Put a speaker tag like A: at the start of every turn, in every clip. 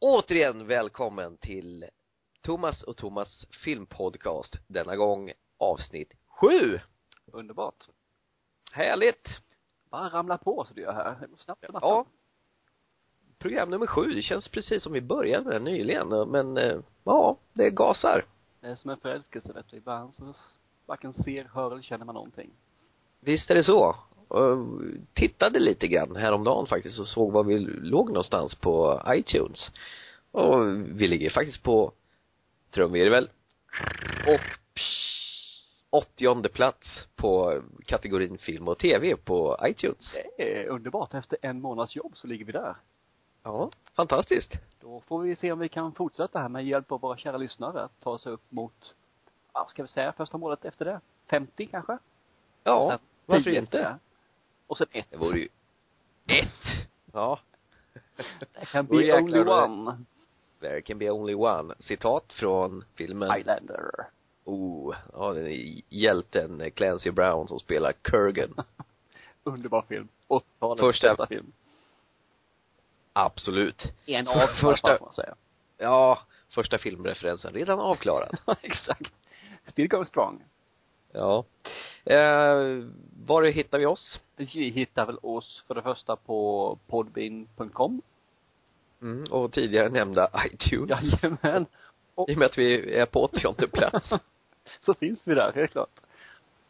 A: återigen välkommen till Thomas och Thomas filmpodcast. Denna gång avsnitt sju.
B: Underbart.
A: Härligt!
B: Bara ramla på så du gör här. Det går Snabbt som
A: Ja.
B: attan.
A: Program nummer sju. Det känns precis som vi började med den nyligen, men eh, ja, det gasar.
B: Det är som en förälskelse vet du. Ibland så varken ser, hör eller känner man någonting.
A: Visst är det så. Eh, Tittade lite grann häromdagen faktiskt och såg var vi låg någonstans på iTunes. Och vi ligger faktiskt på trumvirvel och åttionde plats på kategorin film och tv på iTunes.
B: Det är underbart. Efter en månads jobb så ligger vi där.
A: Ja, fantastiskt.
B: Då får vi se om vi kan fortsätta här med hjälp av våra kära lyssnare att ta sig upp mot, ja, ska vi säga första målet efter det? 50 kanske? Och
A: Ja,
B: sen
A: varför
B: 10
A: inte?
B: Och sen ett.
A: Det vore ju ett. Ja.
B: Det kan
A: Åh,
B: bli
A: jäklar,
B: only
A: då är det-
B: one.
A: There can be only one. Citat från filmen
B: Highlander.
A: Oh, ja den är hjälten Clancy Brown som spelar Kurgan.
B: Underbar film. 80-talets
A: Första-
B: bästa film.
A: Absolut.
B: En
A: För-
B: av dem,
A: första-
B: får man säga.
A: Ja, första filmreferensen redan avklarad.
B: Exakt. Still going strong.
A: Ja. Eh, var hittar vi oss?
B: Vi hittar väl oss för det första på podbean.com.
A: Mm, och tidigare nämnda iTunes.
B: Jajamän.
A: I och med att vi är på åttionde plats.
B: Så finns vi där, helt klart.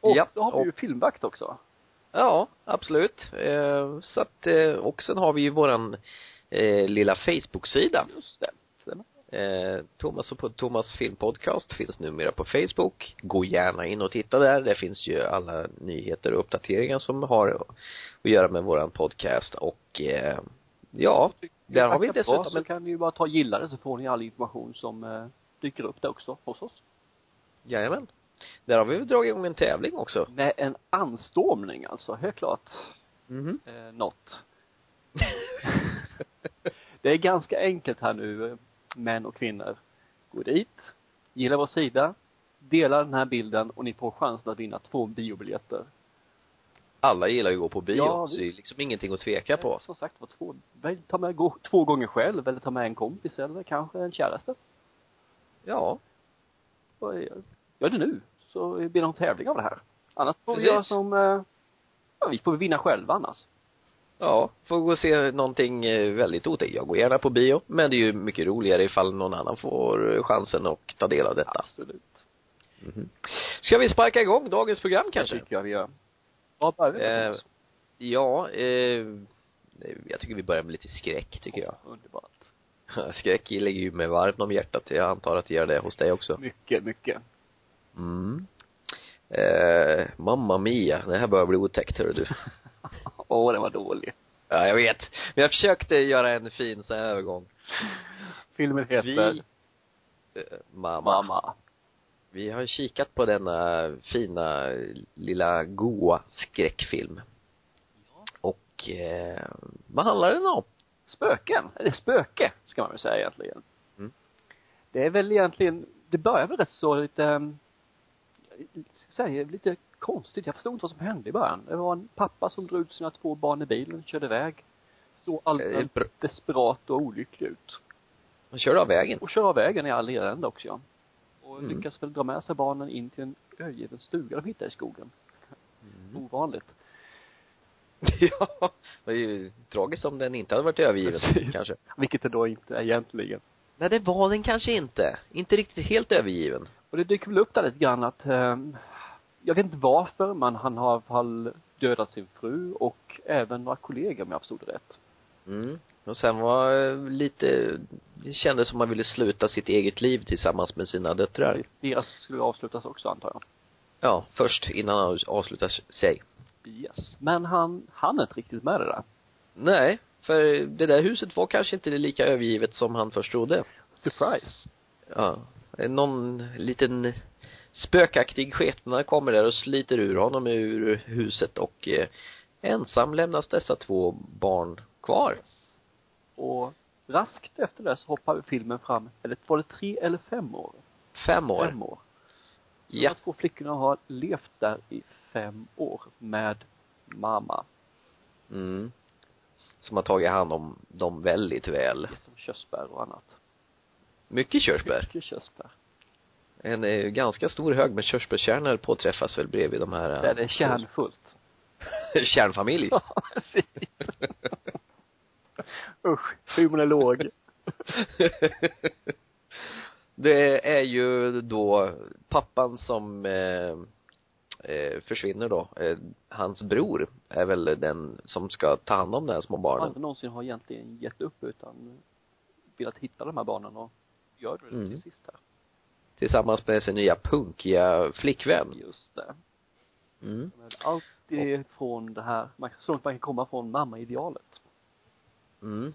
B: Och
A: Ja,
B: så har vi ju filmvakt också.
A: Ja, absolut. Eh, så att, eh, och sen har vi ju våran eh, lilla Facebook-sida.
B: Just det. Stämmer.
A: Eh, Thomas och Thomas filmpodcast finns numera på Facebook. Gå gärna in och titta där. Där finns ju alla nyheter och uppdateringar som har att göra med våran podcast och eh, ja, där har vi
B: Tackar för oss,
A: dessutom
B: Så
A: en,
B: kan ni ju bara ta och gilla det så får ni all information som eh, dyker upp där också hos oss.
A: jajamän. Där har vi dragit igång en tävling också.
B: Med en anstormning alltså, helt klart.
A: Mhm.
B: Eh, något. det är ganska enkelt här nu, eh, män och kvinnor. Gå dit, gilla vår sida, dela den här bilden och ni får chansen att vinna två biobiljetter.
A: Alla gillar ju att gå på bio,
B: Ja,
A: så det är liksom ingenting att tveka på.
B: Som sagt var, två, väl, ta med, gå två gånger själv eller ta med en kompis eller kanske en käraste.
A: Ja,
B: Och, eh, Gör det nu, så blir det någon tävling av det här. Annars får vi
A: Precis.
B: göra som, eh, ja, vi får vinna själva annars.
A: ja, får gå och se någonting eh, väldigt otäckt. Jag går gärna på bio, men det är ju mycket roligare ifall någon annan får eh, chansen att ta del av detta.
B: Absolut.
A: Ska vi sparka igång dagens program kanske?
B: Det tycker jag vi gör. Vad börjar vi med?
A: Eh,
B: Thomas?
A: Ja, eh, jag tycker vi börjar med lite skräck tycker jag.
B: Underbart.
A: Skräck ligger ju mig varmt om hjärtat. Jag antar att det gör det hos dig också.
B: Mycket, mycket.
A: Mm. Eh, Mamma Mia, det här börjar bli otäckt hörru du.
B: Åh, den var dålig.
A: Ja, jag vet. Men jag försökte göra en fin sån här övergång.
B: Filmen heter
A: Vi, eh, mamma,
B: Mamma.
A: vi har kikat på denna fina lilla goa skräckfilm. Och, eh, vad handlar den om?
B: Spöken. Eller spöke, ska man väl säga egentligen.
A: Mm.
B: Det är väl egentligen, det börjar väl rätt så lite, ehm, ska jag säga, lite konstigt. Jag förstod inte vad som hände i början. Det var en pappa som drog ut sina två barn i bilen och körde iväg. Såg
A: Eh,
B: allmänt
A: br-
B: desperat och olycklig ut.
A: Man kör av vägen.
B: Och kör av vägen i all elände också. ja. Och
A: Mm.
B: lyckas väl dra med sig barnen in till en övergiven stuga de hittar i skogen.
A: Mm.
B: Ovanligt.
A: ja, det är ju tragiskt om den inte hade varit övergiven
B: Precis.
A: kanske.
B: Vilket det då inte är egentligen.
A: Nej, det var den kanske inte. Inte riktigt helt övergiven.
B: Och det dyker väl upp där lite grann att, ehm, jag vet inte varför, men han har i alla fall dödat sin fru och även några kollegor om jag förstod det rätt.
A: Mm. Och sen var eh, lite, det kändes som man ville sluta sitt eget liv tillsammans med sina döttrar.
B: Deras skulle avslutas också antar jag.
A: Ja, först innan han avslutar sig.
B: Yes. Men han hann inte riktigt med det där.
A: Nej, för det där huset var kanske inte lika övergivet som han först trodde.
B: Surprise.
A: Ja. Någon liten spökaktig skepnad kommer där och sliter ur honom ur huset och eh, ensam lämnas dessa två barn kvar.
B: Och raskt efter det så hoppar filmen fram, eller var det tre eller fem år?
A: Fem år.
B: Fem år.
A: Ja.
B: De två flickorna har levt där i fem år med mamma.
A: Mm. Som har tagit hand om dem väldigt väl.
B: Som körsbär och annat.
A: Mycket körsbär.
B: Mycket körsbär.
A: En eh, ganska stor hög med körsbärskärnor påträffas väl bredvid de här. eh,
B: Där det är kärnfullt.
A: Kärnfamilj.
B: Ja, precis. Usch, humorn är låg.
A: Det är ju då pappan som eh, eh, försvinner då. Eh, hans bror är väl den som ska ta hand om de här små barnen.
B: Aldrig någonsin har egentligen gett upp utan velat hitta de här barnen och gör det
A: Mm.
B: till sist här.
A: Tillsammans med sin nya punkiga flickvän.
B: Just det.
A: Mm.
B: Men allt är från det här, man, så långt man kan komma från mammaidealet.
A: Mm.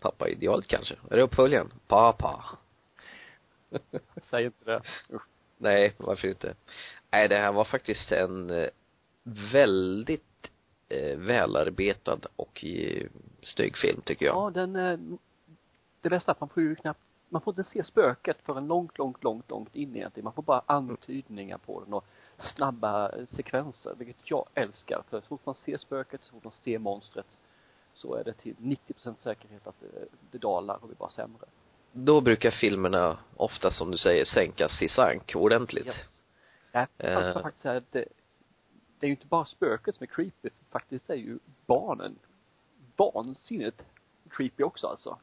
A: Pappa idealt kanske. Är det uppföljaren? Pappa.
B: Säg inte det.
A: Nej, varför inte? Nej, det här var faktiskt en eh, väldigt eh, välarbetad och eh, snygg film tycker jag.
B: Ja, den, eh, det bästa är att man får ju knappt, man får inte se spöket förrän långt, långt, långt, långt in egentligen. Man får bara antydningar på den och snabba eh, sekvenser, vilket jag älskar. För så fort man ser spöket, så fort man ser monstret, så är det till 90% säkerhet att det, det dalar och blir bara sämre.
A: Då brukar filmerna ofta som du säger sänkas i sank ordentligt.
B: Yes. Nej, jag
A: Eh.
B: ska faktiskt säga att det, det är ju inte bara spöket som är creepy, faktiskt är ju barnen vansinnigt creepy också alltså.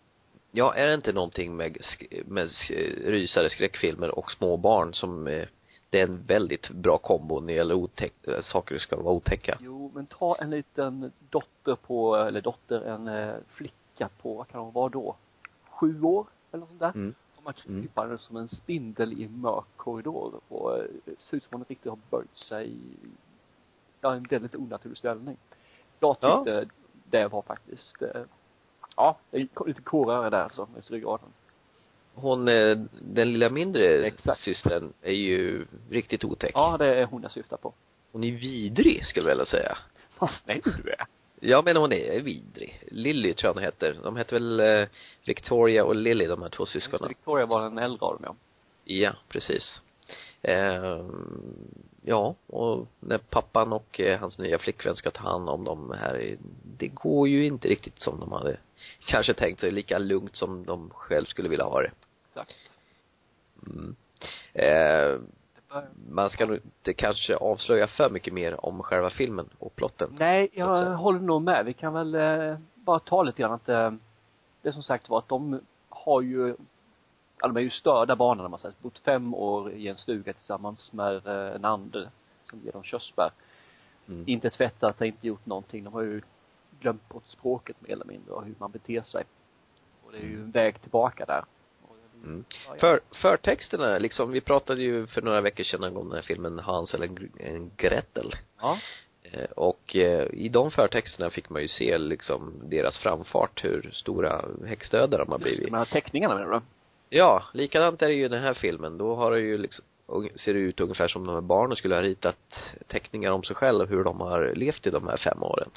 A: Ja, är det inte någonting med, sk- med sk- rysare, skräckfilmer och små barn som eh, det är en väldigt bra kombo när det gäller otäck, eh, saker som ska vara otäcka.
B: Jo, men ta en liten dotter på, eller dotter, en eh, flicka på, vad kan hon vara då? Sju år eller något sånt där.
A: Mm.
B: Som man
A: Mm.
B: krypar mm. som en spindel i en mörk korridor och eh, ser ut som hon riktigt har böjt sig i, ja, en väldigt onaturlig ställning. Jag
A: Ja.
B: tyckte det var faktiskt, eh, ja, det gick lite kårare där så, efter ryggraden.
A: Hon, eh, den lilla mindre
B: Exakt.
A: systern är ju riktigt otäck.
B: Ja, det är hon jag syftar på.
A: Hon är vidrig skulle jag vilja säga.
B: Vad snäll du är.
A: Ja men hon är vidrig. Lilly tror jag hon heter. De heter väl eh, Victoria och Lilly, de här två syskonen.
B: Victoria var den äldre av dem ja.
A: Ja, precis. Ehm, ja, och när pappan och eh, hans nya flickvän ska ta hand om dem här, eh, det går ju inte riktigt som de hade kanske tänkt sig, lika lugnt som de själv skulle vilja ha det.
B: Exakt.
A: Mm. Eh,
B: Det börjar
A: man ska nog inte kanske avslöja för mycket mer om själva filmen och plotten.
B: Nej,
A: så att
B: jag
A: säga.
B: håller nog med. Vi kan väl eh, bara ta lite grann att eh, det som sagt var att de har ju, ja de är ju störda barnen om man säger, bott fem år i en stuga tillsammans med eh, en ande som ger dem körsbär.
A: Mm.
B: Inte tvättat sig, inte gjort någonting. De har ju glömt bort språket mer eller mindre och hur man beter sig. Och det är ju en väg tillbaka där. Och det blir-
A: Mm.
B: ja, ja.
A: För, förtexterna, liksom, vi pratade ju för några veckor sedan om den här filmen Hans eller Gr- en Gretel.
B: Ja.
A: Eh, Och eh, i de förtexterna fick man ju se liksom deras framfart, hur stora häxdödar de har
B: Just det,
A: blivit.
B: de här teckningarna menar du?
A: Ja, likadant är det ju i den här filmen. Då har det ju liksom, ung- ser det ut ungefär som de här barnen skulle ha ritat teckningar om sig själva, hur de har levt i de här fem åren.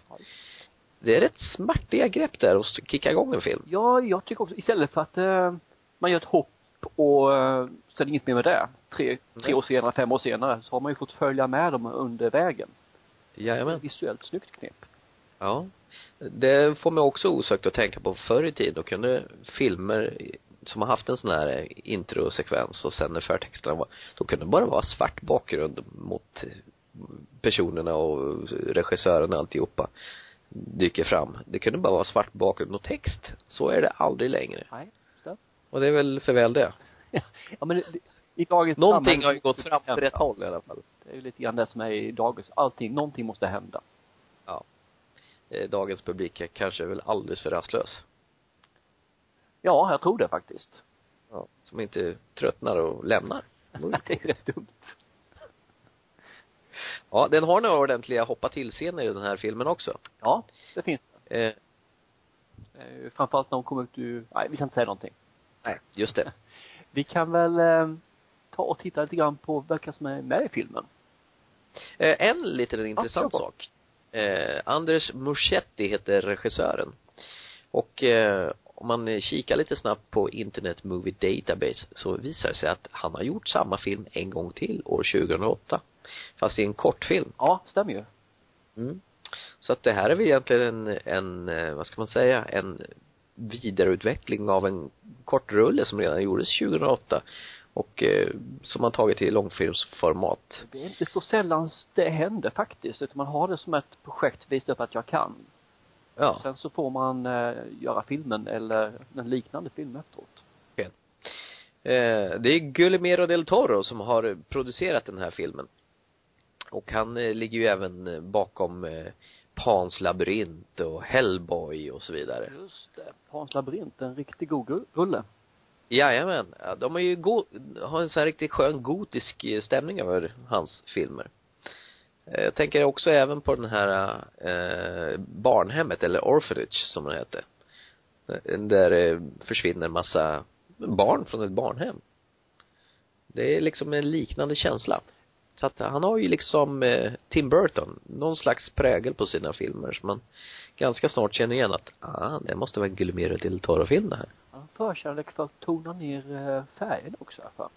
A: Det är rätt smärtiga grepp där att s- kicka igång en film.
B: Ja, jag tycker också, istället för att eh, man gör ett hopp och eh, sen inget mer med det. Tre, tre
A: Nej.
B: år senare, fem år senare, så har man ju fått följa med dem under vägen.
A: Jajamän.
B: Visuellt snyggt knep.
A: Ja. Det får mig också osökt att tänka på förr i tiden, då kunde filmer som har haft en sån här eh, introsekvens och sen när förtexterna var, då kunde det bara vara svart bakgrund mot personerna och regissören och alltihopa dyker fram. Det kunde bara vara svart bakgrund och text. Så är det aldrig längre.
B: Nej, just det.
A: Och det är väl för väl det.
B: Ja, men det, i dagens
A: Någonting
B: samhälle-
A: har ju gått fram åt rätt håll i alla fall.
B: Det är ju lite grann det som är i dagens, allting, någonting måste hända.
A: Eh, Dagens publik är kanske väl alldeles för rastlös.
B: Ja, jag tror det faktiskt.
A: Ja. Som inte tröttnar och lämnar.
B: det är rätt dumt.
A: Ja, den har några ordentliga hoppa till-scener i den här filmen också.
B: Ja, det finns det.
A: Eh,
B: det. är ju Framförallt när de kommer ut ur, nej vi ska inte säga någonting.
A: nej, just det.
B: Vi kan väl eh, ta och titta lite grann på vilka som är med i filmen.
A: Eh, en liten intressant
B: kör på.
A: sak. Eh, Anders Muschetti heter regissören. Och eh, om man kikar lite snabbt på Internet Movie Database så visar det sig att han har gjort samma film en gång till år 2008. Fast i en kortfilm.
B: Ja, stämmer ju.
A: Mm. Så att det här är väl egentligen en, en, eh, vad ska man säga, en vidareutveckling av en kortrulle som redan gjordes 2008 och eh, som man tagit i långfilmsformat.
B: Det är inte så sällan det händer faktiskt, utan man har det som ett projekt, visa upp att jag kan.
A: Ja.
B: Sen så får man eh, göra filmen eller en liknande film efteråt.
A: Eh, det är Guillermo del Toro som har producerat den här filmen. Och han eh, ligger ju även eh, bakom eh, Pans labyrint och Hellboy och så vidare.
B: Just det. Hans labyrint, en riktigt god gru- rulle.
A: Jajamän. Ja, De har ju go- har en sån här riktigt skön gotisk eh, stämning över hans filmer. Eh, Jag tänker också även på den här eh, barnhemmet eller orphanage som den hette. Eh, Där eh, försvinner en massa barn från ett barnhem. Det är liksom en liknande känsla. Så att han har ju liksom eh, Tim Burton, någon slags prägel på sina filmer som man ganska snart känner igen att, ah, det måste vara en Guillermo del Toro-film det här.
B: Han har förkärlek för att tona ner eh, färgen också i alla fall.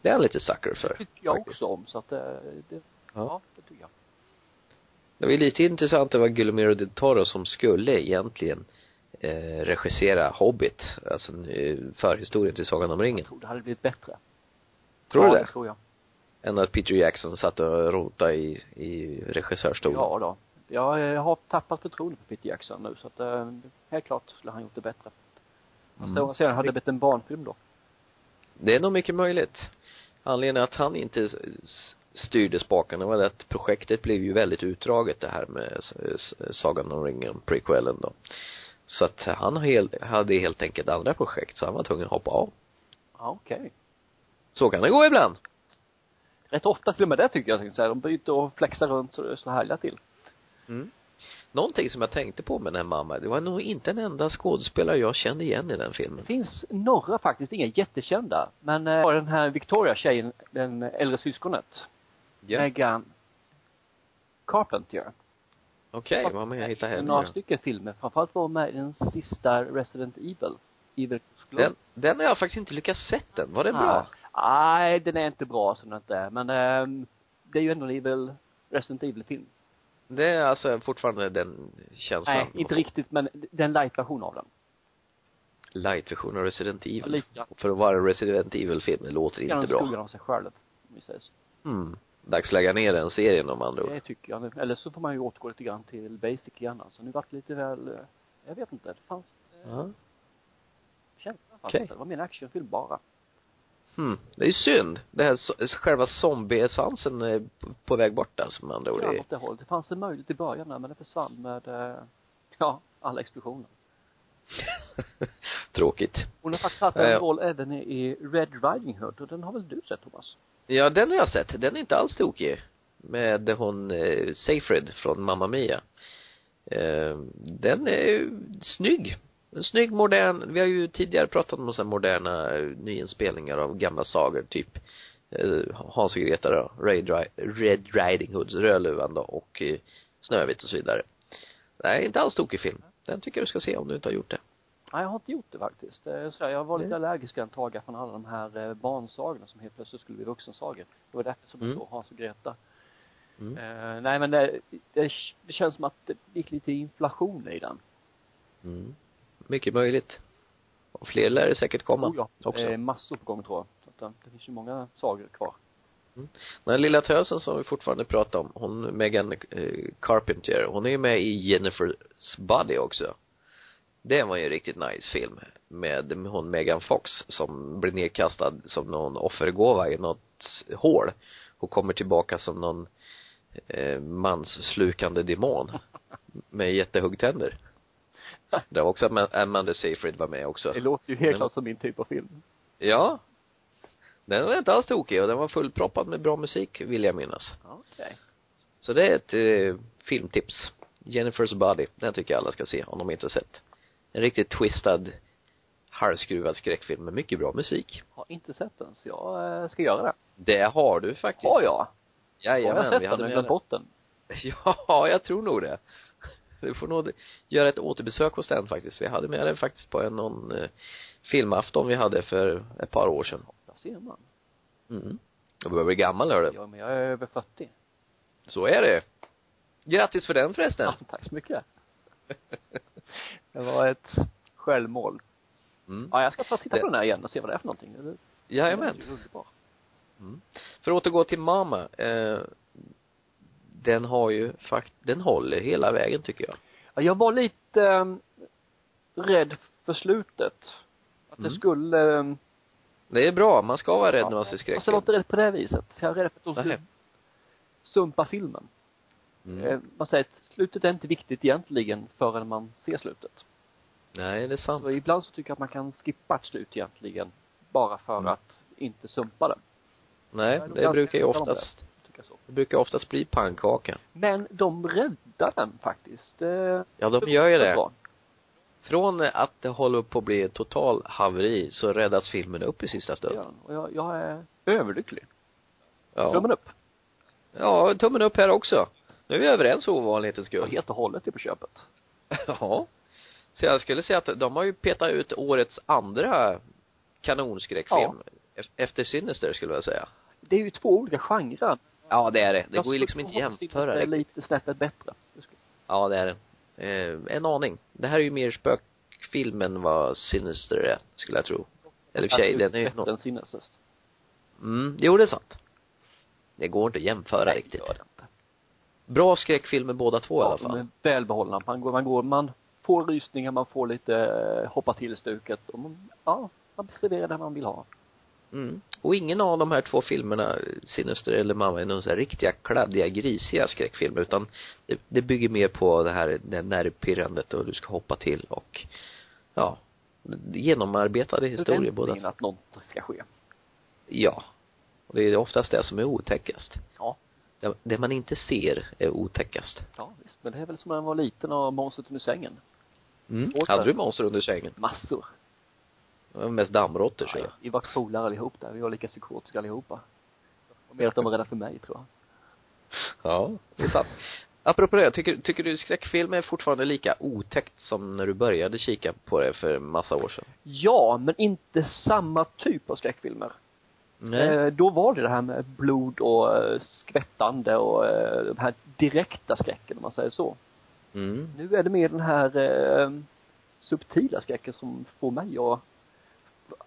A: Det är han lite sucker
B: Det
A: för.
B: tycker jag
A: faktiskt.
B: också om, så att eh, det, ja, det tycker jag.
A: Det var ju lite intressant, det var Guillermo del Toro som skulle egentligen eh, regissera Hobbit, alltså eh, förhistorien till Sagan om ringen.
B: Jag tror det hade blivit bättre.
A: Tror du
B: ja,
A: det?
B: det? tror jag.
A: Än att Peter Jackson satt och rotade i, i regissörstolen.
B: Ja då. Jag eh, har tappat förtroende för Peter Jackson nu så att eh, helt klart skulle han gjort det bättre. Fast
A: Mm.
B: mm. sen hade det blivit en barnfilm då.
A: Det är nog mycket möjligt. Anledningen att han inte s- s- styrde spakarna var det att projektet blev ju väldigt utdraget det här med s- s- Sagan om ringen, prequelen då. Så att han hel, hade helt enkelt andra projekt, så han var tvungen att hoppa av.
B: Ja, okej.
A: Så kan det gå ibland.
B: Rätt ofta till och med det tycker jag, tänkte säga. De byter och flexar runt så det står härliga till.
A: Mm. Någonting som jag tänkte på med den här mamma, det var nog inte en enda skådespelare jag kände igen i den
B: Det
A: filmen.
B: finns några faktiskt, inga jättekända. Men eh, var den här Victoria tjejen, den äldre syskonet. Megan Carpenter.
A: Okej, vad med jag hittade henne
B: Några
A: då?
B: stycken filmer. Framförallt var hon med i den sista Resident Evil. Evil
A: den, den har jag faktiskt inte lyckats sett än. Var den bra?
B: Ah. Nej, den är inte bra som den inte är. Men ehm, det är ju ändå en Evil, Resident Evil-film.
A: Det är alltså fortfarande den känslan.
B: Nej, inte riktigt, men den light-version av den.
A: Light-version av Resident Evil.
B: Lite.
A: För att vara en Resident Evil-film, det låter inte
B: Gärna
A: bra.
B: skuggan av sig själv. om vi säger så.
A: Mm. Dags att lägga ner den serien om andra ord.
B: Det tycker jag nu. Eller så får man ju återgå lite grann till basic igen alltså. Nu vart det lite väl, eh, jag vet inte, det fanns,
A: Ja.
B: känslan fanns
A: Okej.
B: inte. Det var mer en actionfilm bara.
A: Hmm. Det är ju synd. Det här s- själva zombie-essensen är p- på väg bort alltså med andra ord.
B: Tyvärr
A: Det-
B: åt det hållet. Det fanns en möjlighet i början där, men det försvann med, eh, ja, alla explosioner.
A: Tråkigt.
B: Hon har faktiskt haft en
A: Eh.
B: roll även i- i Red Riding Hood och den har väl du sett Thomas?
A: Ja, den har jag sett. Den är inte alls tokig. Med hon eh, Seyfried från Mamma Mia. Eh, den är ju snygg. En snygg, modern. Vi har ju tidigare pratat om så här moderna eh, nyinspelningar av gamla sagor, typ eh, Hans och Greta då, Red, Ri- Red Riding Hood, Rödluvan då och eh, Snövit och så vidare. Nej, inte alls tokig film. Den tycker jag du ska se om du inte har gjort det.
B: Nej, jag har inte gjort det faktiskt. Det är sådär, jag var lite
A: Nej.
B: allergisk en tag från alla de här eh, barnsagorna som helt plötsligt skulle bli vuxensagor. Det var därför som det
A: Mm.
B: stod Hans och Greta.
A: Mm.
B: Eh, nej men det, det, det känns som att det gick lite inflation i den.
A: Mm. Mycket möjligt. Och fler lär det säkert komma.
B: Tror jag.
A: också.
B: Eh, massor på gång tror jag. Så att, eh, det finns ju många sagor kvar.
A: Den här lilla tösen som vi fortfarande pratar om, hon Megan eh, Carpenter, hon är ju med i Jennifer's Body också. Det var ju en riktigt nice film med hon Megan Fox som blir nedkastad som någon offergåva i något hål och kommer tillbaka som någon eh, mansslukande demon med jättehuggtänder. Det var också Am- Amanda Seyfried var med också.
B: Det låter ju helt
A: Men-
B: klart som min typ av film.
A: Ja. Den var inte alls tokig och den var fullproppad med bra musik vill jag minnas.
B: Ja, Okej.
A: Så det är ett eh, filmtips. Jennifer's Body, den tycker jag alla ska se om de inte har sett. En riktigt twistad, halvskruvad skräckfilm med mycket bra musik.
B: Har inte sett den så jag eh, ska göra det.
A: Det har du faktiskt.
B: Har jag?
A: Jajamän,
B: har jag sett
A: vi
B: den?
A: hade
B: Jag
A: med
B: glömt
A: den.
B: bort den.
A: Ja, jag tror nog det. Du får nog göra ett återbesök hos den faktiskt. Vi hade med den faktiskt på en någon eh, filmafton vi hade för ett par år sedan.
B: Ja, ser man.
A: Mm. Du börjar bli gammal hör du.
B: Ja, men jag är över 40.
A: Så är det. Grattis för den förresten.
B: Ja, tack så mycket. Det var ett självmål.
A: Mm.
B: Ja, jag ska ta titta
A: Det-
B: på den här igen och se vad det är för någonting. Det- det-
A: Jajamän.
B: det är underbart.
A: Mm. För att återgå till Mama, eh, den har ju fakt, den håller hela vägen tycker jag.
B: Ja, jag var lite ehm, rädd för slutet. Att det
A: Mm.
B: skulle ehm,
A: Det är bra, man ska vara rädd när man ser
B: Fast
A: skräckfilm.
B: jag var inte rädd på det här viset. Jag är rädd för att de skulle
A: Nej.
B: sumpa filmen.
A: mm.
B: Eh, Man säger att slutet är inte viktigt egentligen förrän man ser slutet.
A: Nej, det är sant.
B: Så ibland så tycker jag att man kan skippa ett slut egentligen. Bara för
A: Mm.
B: att inte sumpa den.
A: Nej,
B: Jag är nog
A: det
B: ganska
A: brukar ju
B: ensam om
A: oftast,
B: Tycker jag så.
A: det brukar oftast bli pannkaka.
B: Men de räddar den faktiskt. Eh,
A: Ja, de gör ju det.
B: bra.
A: Från att det håller på att bli ett total haveri så räddas filmen upp i sista
B: Det
A: stund.
B: gör den. Och jag, jag är överlycklig.
A: Ja.
B: Tummen upp.
A: ja, tummen upp här också. Nu är vi överens för ovanlighetens
B: Ja,
A: skull.
B: helt och hållet är på köpet.
A: Ja. Så jag skulle säga att de har ju petat ut årets andra kanonskräckfilm. Ef- Efter Sinister skulle jag säga.
B: Det är ju två olika genrer.
A: Ja, det är det. Det
B: Jag
A: går ju liksom
B: skulle
A: inte
B: tro att
A: jämföra.
B: Det är
A: Det.
B: lite snäppet bättre. Det skulle-
A: Ja, det är det. Eh, en aning. Det här är ju mer spökfilm än vad Sinister är, skulle jag tro. Eller i och för sig,
B: Absolut
A: den är ju
B: bättre
A: nå-
B: än sinnesest.
A: mm, jo det är sant. Det går inte att jämföra
B: Nej,
A: riktigt.
B: gör det inte.
A: Bra skräckfilmer båda två i alla
B: Ja, de
A: fall.
B: är välbehållna. Man går, man går, man får rysningar, man får lite eh, hoppa till stuket och man, ja, man serverar det man vill ha.
A: Mm. Och ingen av de här två filmerna, Sinister eller Mamma, är någon så här riktiga kladdiga, grisiga skräckfilmer utan det, det bygger mer på det här det nervpirrandet och du ska hoppa till och ja, genomarbetade historier båda
B: Förväntningen att något ska ske.
A: Ja. Och det är oftast det som är otäckast.
B: Ja.
A: Det, det man inte ser är otäckast.
B: Ja, visst. Men det är väl som när man var liten och monstret under sängen.
A: Mm.
B: Svårt
A: Hade
B: där.
A: du monster under sängen?
B: Massor.
A: Det var mest dammråttor så
B: Ja,
A: jag.
B: Vi var polare allihop där. Vi var lika psykotiska allihopa. Och mer att de var rädda för mig, tror jag.
A: Ja, det är sant. Apropå det, tycker, tycker du skräckfilm är fortfarande lika otäckt som när du började kika på det för en massa år sedan?
B: Ja, men inte samma typ av skräckfilmer.
A: Nej.
B: Eh, då var det det här med blod och eh, skvättande och eh, den här direkta skräcken om man säger så.
A: Mm.
B: Nu är det mer den här eh, subtila skräcken som får mig att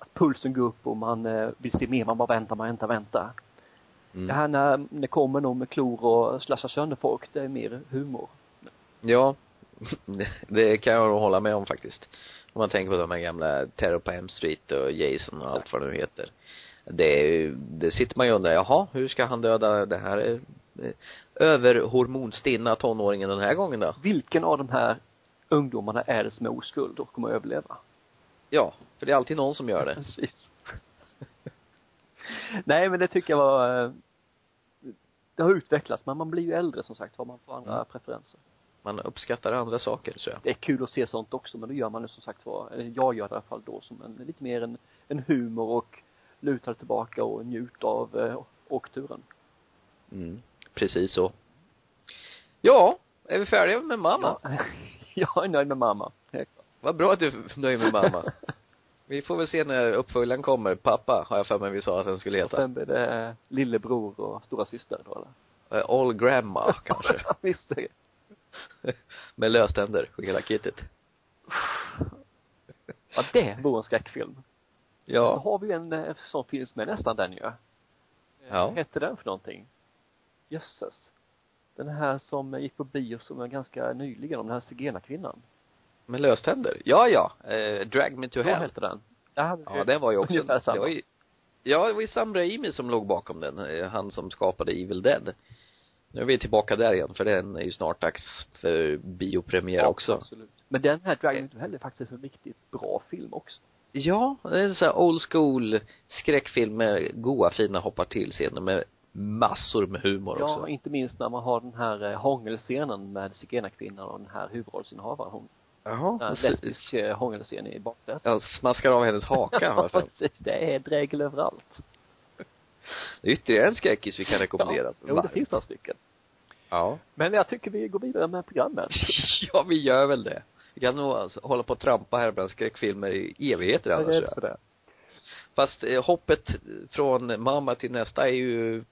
B: att pulsen går upp och man eh, vill se mer, man bara väntar, man väntar, väntar. Det
A: Mm.
B: här när när det kommer någon med klor och slashar sönder folk, det är mer humor.
A: Ja. Det kan jag nog hålla med om faktiskt. Om man tänker på de här gamla Terror på M Street och Jason och allt vad det nu heter. Det är ju, det sitter man ju och undrar, jaha, hur ska han döda det här eh, överhormonstinna tonåringen den här gången då?
B: Vilken av de här ungdomarna är det som är oskuld och kommer att överleva?
A: Ja, för det är alltid någon som gör det.
B: Precis. Nej men det tycker jag var eh, det har utvecklats men man blir ju äldre som sagt har man får andra
A: Mm.
B: preferenser.
A: Man uppskattar andra saker, så jag.
B: Det är kul att se sånt också men då gör man det som sagt var, eller jag gör det i alla fall då som en, lite mer en, en humor och lutar tillbaka och njut av eh, åkturen.
A: Mm. Precis så. Ja, är vi färdiga med mamma?
B: Ja. jag är nöjd med mamma. Helt klart.
A: Vad bra att du är nöjd med mamma. Vi får väl se när uppföljaren kommer. Pappa, har jag för mig vi sa att den skulle
B: Och
A: heta.
B: sen blir det eh, lillebror och stora syster då eller?
A: Eh, All grandma, kanske.
B: Visst det.
A: Med löständer och hela kittet.
B: Ja det vore en skräckfilm. Så
A: Ja.
B: har vi en eh, sån film som är nästan den ju.
A: Ja.
B: Vad hette den för någonting? Jösses. Den här som gick på bio som var ganska nyligen, om den här zigenarkvinnan.
A: Med löständer. Ja, ja. Eh, drag me to
B: Vad
A: hell.
B: hette den? Ja,
A: Ja, den var ju också,
B: Ungefär samma.
A: det var ju, ja, det var ju Sam Raimi som låg bakom den. eh, Han som skapade Evil Dead. Nu är vi tillbaka där igen, för den är ju snart dags för biopremiär också. Eh.
B: Absolut. Men den här Dragon to Hell är faktiskt en riktigt bra film också.
A: Ja, det är en sån här old school skräckfilm med goa fina hoppar till scener med massor med humor
B: Ja,
A: också.
B: inte minst när man har den här eh, hångelscenen med zigenarkvinnan och den här huvudrollsinnehavaren. Hon, den
A: Jaha.
B: här lesbisk eh, hångelscen i baksätet.
A: Jag smaskar av hennes haka har jag för mig.
B: precis. Det är dregel överallt.
A: Det är ytterligare en skräckis vi kan rekommendera.
B: Ja, jo, det finns några stycken.
A: ja.
B: Men jag tycker vi går vidare med programmet.
A: ja, vi gör väl det. Vi kan nog alltså hålla på och trampa här bland skräckfilmer i evigheter
B: Jag är
A: annars.
B: rädd
A: tror
B: för
A: jag.
B: det.
A: Fast eh, hoppet från mamma till nästa är ju,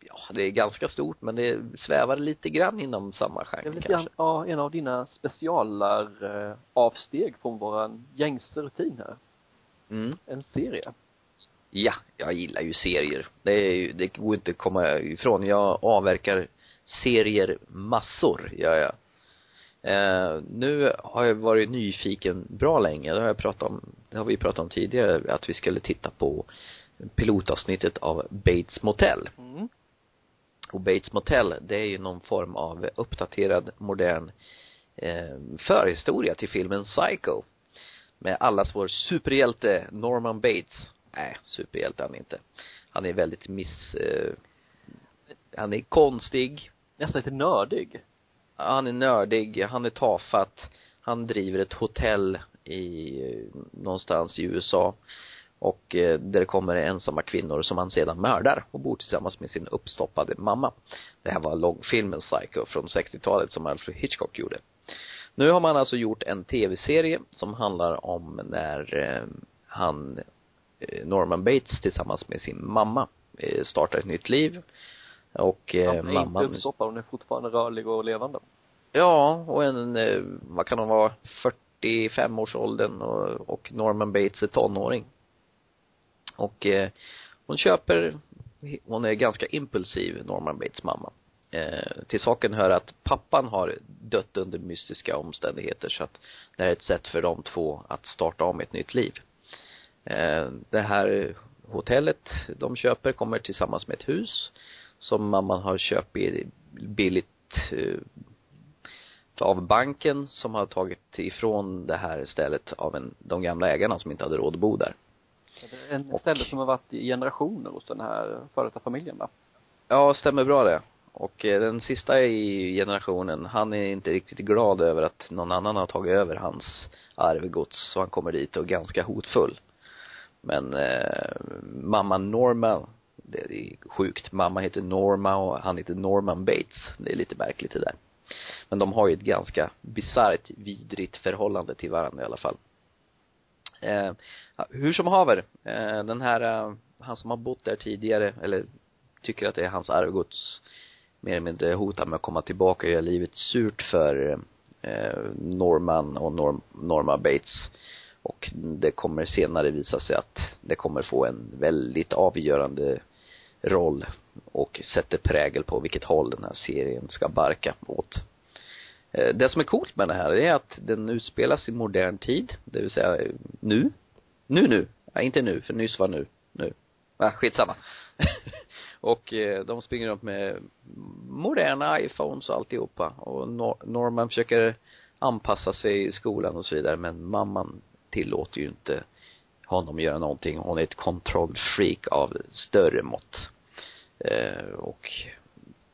A: ja, ja, det är ganska stort men det svävar lite grann inom samma
B: Det är väl
A: genre
B: lite grann,
A: kanske.
B: ja, en av dina specialar eh, avsteg från våran gängse rutin här.
A: Mm.
B: En serie.
A: Ja, jag gillar ju serier. Det är ju, det går inte att komma ifrån. Jag avverkar serier massor, gör jag. Eh, nu har jag varit nyfiken bra länge. Det har jag pratat om, det har vi pratat om tidigare, att vi skulle titta på pilotavsnittet av Bates Motel.
B: Mm.
A: Och Bates Motel, det är ju någon form av uppdaterad, modern eh, förhistoria till filmen Psycho. Med allas vår superhjälte Norman Bates. Nej, superhjälte är han inte. Han är väldigt miss... Eh, han är konstig,
B: Nästan lite nördig.
A: han är nördig, han är tafatt, han driver ett hotell i, eh, någonstans i USA. Och eh, där det kommer ensamma kvinnor som han sedan mördar och bor tillsammans med sin uppstoppade mamma. Det här var långfilmen Psycho från 60-talet som Alfred Hitchcock gjorde. Nu har man alltså gjort en tv-serie som handlar om när eh, han, eh, Norman Bates tillsammans med sin mamma eh, startar ett nytt liv. Och eh,
B: Han är
A: mamman
B: inte uppstoppad, hon är fortfarande rörlig och levande.
A: Ja, och en, eh, vad kan hon vara, 45 års åldern och, och Norman Bates är tonåring. Och eh, hon köper, hon är ganska impulsiv, Norman Bates mamma. Eh, till saken hör att pappan har dött under mystiska omständigheter så att det här är ett sätt för de två att starta om ett nytt liv. Eh, det här hotellet de köper kommer tillsammans med ett hus som mamman har köpt i- billigt eh, av banken som har tagit ifrån det här stället av en, de gamla ägarna som inte hade råd att bo där.
B: En
A: Och-
B: ställe som har varit i generationer hos den här före detta familjen va?
A: Ja, stämmer bra det. Och eh, den sista i generationen, han är inte riktigt glad över att någon annan har tagit över hans arvegods, så han kommer dit och är ganska hotfull. Men eh, mamma Norma, det är sjukt, mamma heter Norma och han heter Norman Bates. Det är lite märkligt det där. Men de har ju ett ganska bisarrt, vidrigt förhållande till varandra i alla fall. Eh, hur som haver, eh, den här, eh, han som har bott där tidigare, eller tycker att det är hans arvgods, mer eller mindre hotar med att komma tillbaka och göra livet surt för eh, Norman och Norm, Norma Bates. Och det kommer senare visa sig att det kommer få en väldigt avgörande roll och sätter prägel på vilket håll den här serien ska barka åt. Eh, Det som är coolt med det här är att den utspelas i modern tid, det vill säga eh, nu. Nu nu. Ja, inte nu, för nyss var nu. Nu. Ah, skitsamma. och eh, de springer runt med moderna iPhones och alltihopa. Och Nor- Norman försöker anpassa sig i skolan och så vidare, men mamman tillåter ju inte honom göra någonting. Hon är ett controlled freak av större mått. Eh, och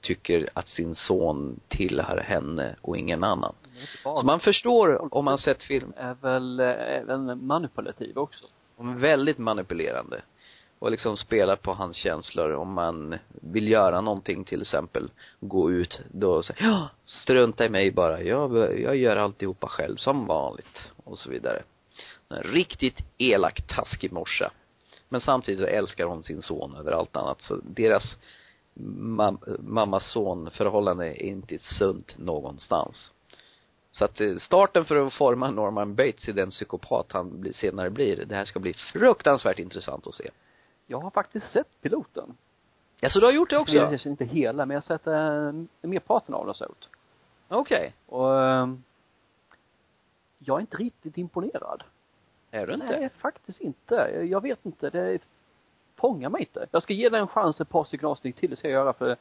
A: tycker att sin son tillhör henne och ingen annan.
B: Den är inte
A: Så
B: barn.
A: man förstår om man sett film,
B: är väl eh, även manipulativ också.
A: de är väldigt manipulerande. Och liksom spelar på hans känslor om man vill göra någonting till exempel, gå ut då säger ja, strunta i mig bara, jag, jag gör alltihopa själv som vanligt och så vidare. En riktigt elak, taskig morsa. Men samtidigt älskar hon sin son över allt annat så deras mam- mamma-son förhållande är inte sunt någonstans. Så att eh, starten för att forma Norman Bates i den psykopat han blir- senare blir, det här ska bli fruktansvärt intressant att se.
B: Jag har faktiskt sett piloten.
A: Ja, så du har gjort det också?
B: Jag ser inte hela, men jag har sett eh, merparten av den så ut.
A: Okej.
B: Och eh, jag är inte riktigt imponerad.
A: Är du inte?
B: Nej, faktiskt inte. Jag vet inte. Det fångar mig inte. Jag ska ge den en chans ett par stycken avsnitt till, det ska jag göra för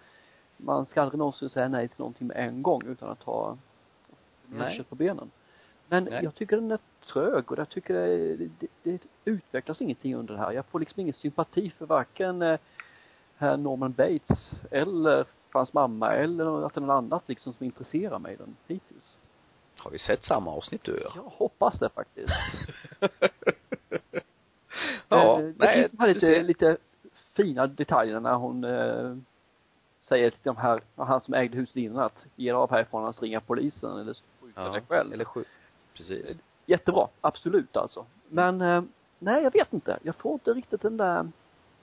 B: man ska aldrig någonsin säga nej till någonting med en gång utan att ha mer
A: Nej.
B: kött på benen. Men
A: Nej.
B: jag tycker den är trög och jag tycker det, det, det utvecklas ingenting under det här. Jag får liksom ingen sympati för varken eh, herr Norman Bates eller hans mamma eller att det är något annat liksom som intresserar mig den hittills.
A: Har vi sett samma avsnitt du och jag?
B: Jag hoppas det faktiskt.
A: ja,
B: Eh, det
A: nej,
B: finns de här
A: du
B: lite,
A: ser.
B: lite fina detaljerna när hon eh, säger till de här, han som ägde huset innan att ge er av härifrån annars ringer polisen eller så skjuter
A: Ja,
B: dig själv.
A: eller sju. Precis.
B: Jättebra, absolut alltså. Men eh, nej jag vet inte, jag får inte riktigt den där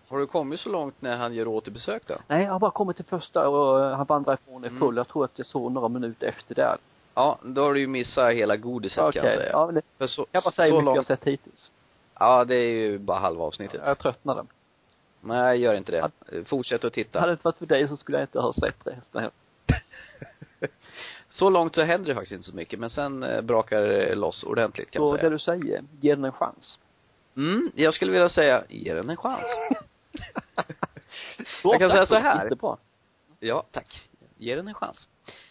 A: Har du kommit så långt när han gör återbesök då?
B: Nej, jag har bara kommit till första och eh, han vandrar ifrån är
A: Mm.
B: full. Jag tror att jag såg några minuter efter där.
A: Ja, då har du ju missat hela godiset kan jag säga.
B: Ja, men det,
A: För så,
B: jag bara säger
A: så
B: hur mycket jag har
A: långt,
B: sett hittills.
A: ja det är ju bara halva avsnittet.
B: Jag tröttnade.
A: Nej, gör inte det.
B: Att-
A: Fortsätt att titta.
B: Hade det inte varit för dig så skulle jag inte ha sett resten. här.
A: Så långt så händer det faktiskt inte så mycket, men sen eh, brakar det loss ordentligt kan
B: Så
A: jag
B: det
A: säga.
B: du säger, ge den en chans.
A: Mm, jag skulle vilja säga, ge den en chans.
B: Bra
A: Jag kan
B: sagt,
A: säga så här.
B: Jättebra.
A: Ja, tack. Ge den en chans.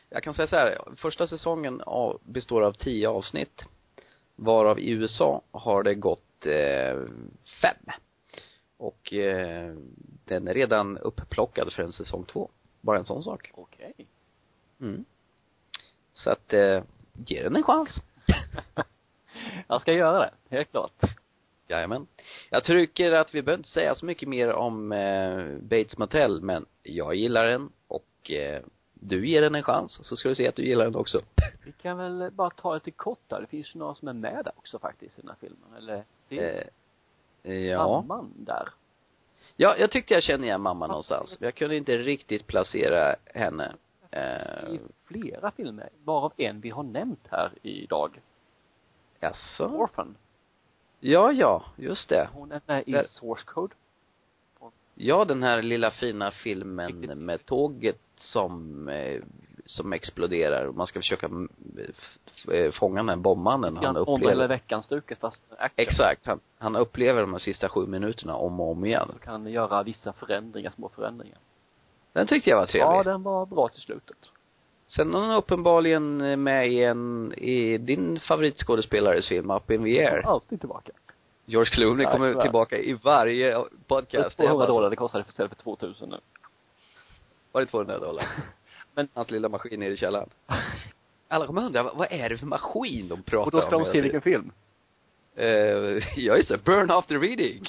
A: Jag kan säga så här, första säsongen av, består av tio avsnitt. Varav i USA har det gått eh, fem. Och eh, den är redan upplockad för en säsong två. Bara en sån sak.
B: Okej.
A: Mm. Så att, eh, ge den en chans.
B: Jag ska göra det, helt klart.
A: Jajamän. Jag tycker att vi behöver inte säga så mycket mer om eh, Bates Motel, men jag gillar den och eh, du ger den en chans, så ska du se att du gillar den också.
B: Vi kan väl bara ta lite kort där. Det finns ju några som är med där också faktiskt i den här filmen. Eller serien.
A: Eh, ja.
B: Mamman där.
A: ja, jag tyckte jag kände igen mamma någonstans. Jag kunde inte riktigt placera henne. Eh,
B: I flera filmer, varav en vi har nämnt här idag.
A: jaså?
B: Orphan.
A: Ja, ja, just det.
B: Hon är med i
A: Där.
B: Source Code.
A: Ja, den här lilla fina filmen
B: Riktigt.
A: med tåget som, eh, som exploderar och man ska försöka mm, f- f- fånga den här bombmannen han
B: Han om
A: upplever.
B: eller veckan-stuket fast action.
A: Exakt. Han, han upplever de här sista sju minuterna om och om igen.
B: Så kan göra vissa förändringar, små förändringar.
A: Den tyckte jag var trevlig.
B: Ja, den var bra till slutet.
A: Sen har han uppenbarligen med i en, i din favoritskådespelares film, Up in the Air.
B: Alltid tillbaka.
A: George Clooney
B: Ja,
A: kommer
B: tyvärr.
A: tillbaka i varje podcast.
B: Just 200 dollar det kostade istället för 2000 nu.
A: Var det 200 dollar?
B: Men-
A: Hans lilla maskin nere i källaren. Alla kommer undra, vad vad är det för maskin de pratar om?
B: Och då ska de
A: hela
B: se
A: tiden?
B: vilken film.
A: Eh, ja, just det. Burn after reading.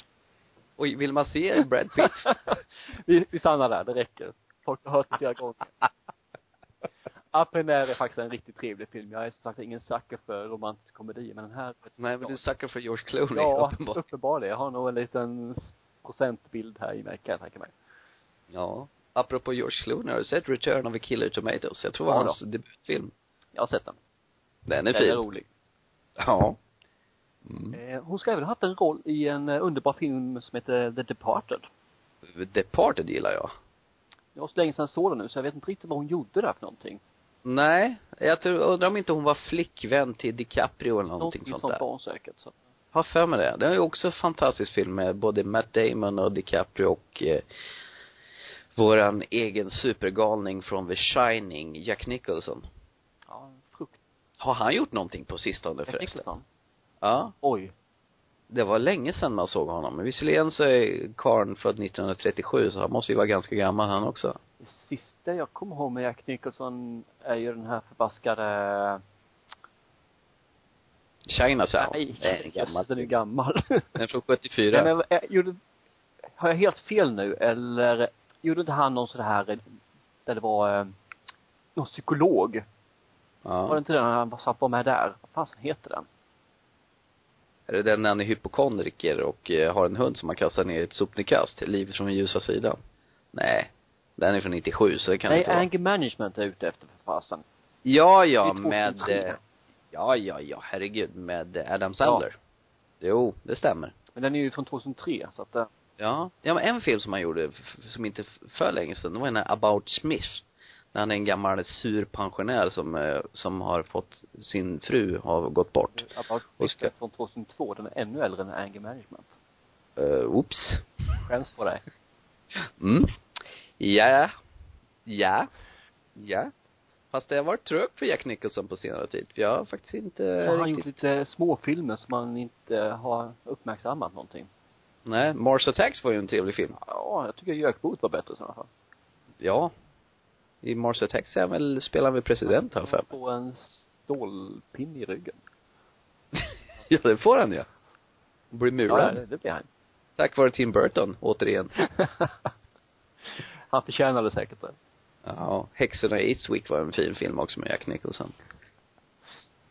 A: Och vill man se Brad Pitt?
B: vi, vi stannar där, det räcker. Folk har hört det flera gånger. Up in Air är faktiskt en riktigt trevlig film. Jag är som sagt ingen sucker för romantisk komedi, men den här
A: Nej, men du suckar för George Clooney,
B: Ja,
A: uppenbarligen.
B: uppenbarligen. Jag har nog en liten procentbild här i mig, kan jag tänka mig.
A: Ja. Apropå George Clooney, har du sett Return of a Killer Tomatoes? Jag tror det var
B: Ja,
A: hans debutfilm.
B: Jag har sett den.
A: Den är
B: Den är
A: fin.
B: rolig.
A: Ja. Mm.
B: Eh, hon ska även ha haft en roll i en eh, underbar film som heter The Departed.
A: Departed gillar jag.
B: Det var så länge sedan jag såg den nu, så jag vet inte riktigt vad hon gjorde där för någonting.
A: Nej, jag tror, undrar om inte hon var flickvän till DiCaprio eller någonting, sånt, där.
B: var hon säkert. Så.
A: Har för mig det. Det är ju också en fantastisk film med både Matt Damon och DiCaprio och eh, våran egen supergalning från The Shining, Jack Nicholson.
B: Ja, frukt.
A: Har han gjort någonting på sistone
B: Jack
A: förresten?
B: Nicholson.
A: Ja.
B: Oj.
A: Det var länge sedan man såg honom. Men visserligen så är Karn född 1937 så han måste ju vara ganska gammal han också.
B: Det sista jag kommer ihåg med Jack Nicholson är ju den här förbaskade...
A: Chinatown.
B: Nej,
A: Det Alltså, är en gammal.
B: jösses, den är ju gammal.
A: Den är från
B: Nej,
A: 74.
B: men eh, gjorde... Har jag helt fel nu eller gjorde inte han någon sån här eh, där det var eh, någon psykolog? Var det
A: Ja.
B: inte den han satt var med där? Vad fan heter den?
A: Är det den när han är hypokondriker och eh, har en hund som man kastar ner i ett sopnedkast? Livet från den ljusa sidan? Nej. Den är från 97 så det kan det
B: Nej,
A: inte vara.
B: Anger Management är jag ute efter för fasen.
A: Ja, ja,
B: Det är
A: med
B: 2003.
A: eh, Ja, ja, ja, herregud, med eh, Adam Sandler. Jo, det stämmer.
B: Men den är ju från 2003 så att eh,
A: Ja. Ja, men en film som han gjorde, f- f- som inte f- för länge sedan, det var den här About Smith. När han är en gammal sur pensionär som, eh, som har fått, sin fru har gått bort.
B: About
A: Och
B: Smith
A: ska-
B: är från 2002, den är ännu äldre än Anger Management.
A: Uh, oops.
B: Skäms på dig.
A: Mm. Ja. Ja. Ja. Fast det har varit trögt för Jack Nicholson på senare tid. För jag har faktiskt inte
B: Så har han
A: riktigt...
B: gjort lite småfilmer som man inte har uppmärksammat någonting.
A: Nej, Mars Attacks var ju en trevlig film.
B: Ja, jag tycker Jökboet var bättre i sådana fall.
A: Ja. I Mars Attacks är han väl, spelar han väl president har jag för mig.
B: På en stålpinne i ryggen.
A: Ja, det får han ju. Blir
B: Ja,
A: murad.
B: det, det blir han.
A: Tack vare Tim Burton, återigen.
B: han förtjänade säkert det.
A: Ja, Häxorna i Eastwick var en fin film också med Jack Nicholson.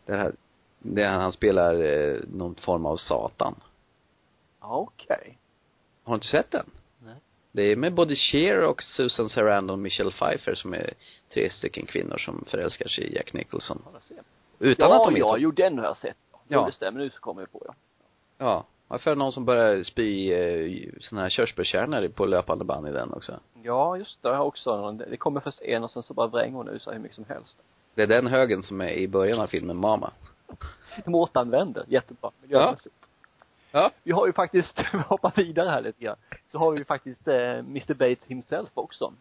A: Det här, det här han spelar eh, någon form av satan.
B: Ja, okej.
A: Har du inte sett den?
B: Nej.
A: Det är med både Cher och Susan Sarandon och Michelle Pfeiffer som är tre stycken kvinnor som förälskar sig i Jack Nicholson.
B: Ja, där ser jag.
A: Utan
B: ja,
A: att de
B: ja,
A: inte...
B: jo den har jag sett.
A: Ja.
B: Ja. Det stämmer, nu så kommer jag på ja.
A: Ja. Varför är det någon som börjar spy eh, såna här körsbärskärnor på löpande band i den också?
B: Ja, just det, jag har också någon, det kommer först en och sen så bara vränger hon ur sig hur mycket som helst.
A: Det är den högen som är i början av filmen Mama.
B: De återanvänder, jättebra, miljömässigt.
A: Ja.
B: Vi har ju faktiskt, vi hoppar vidare här lite grann, så har vi ju faktiskt eh, Mr Bates himself också.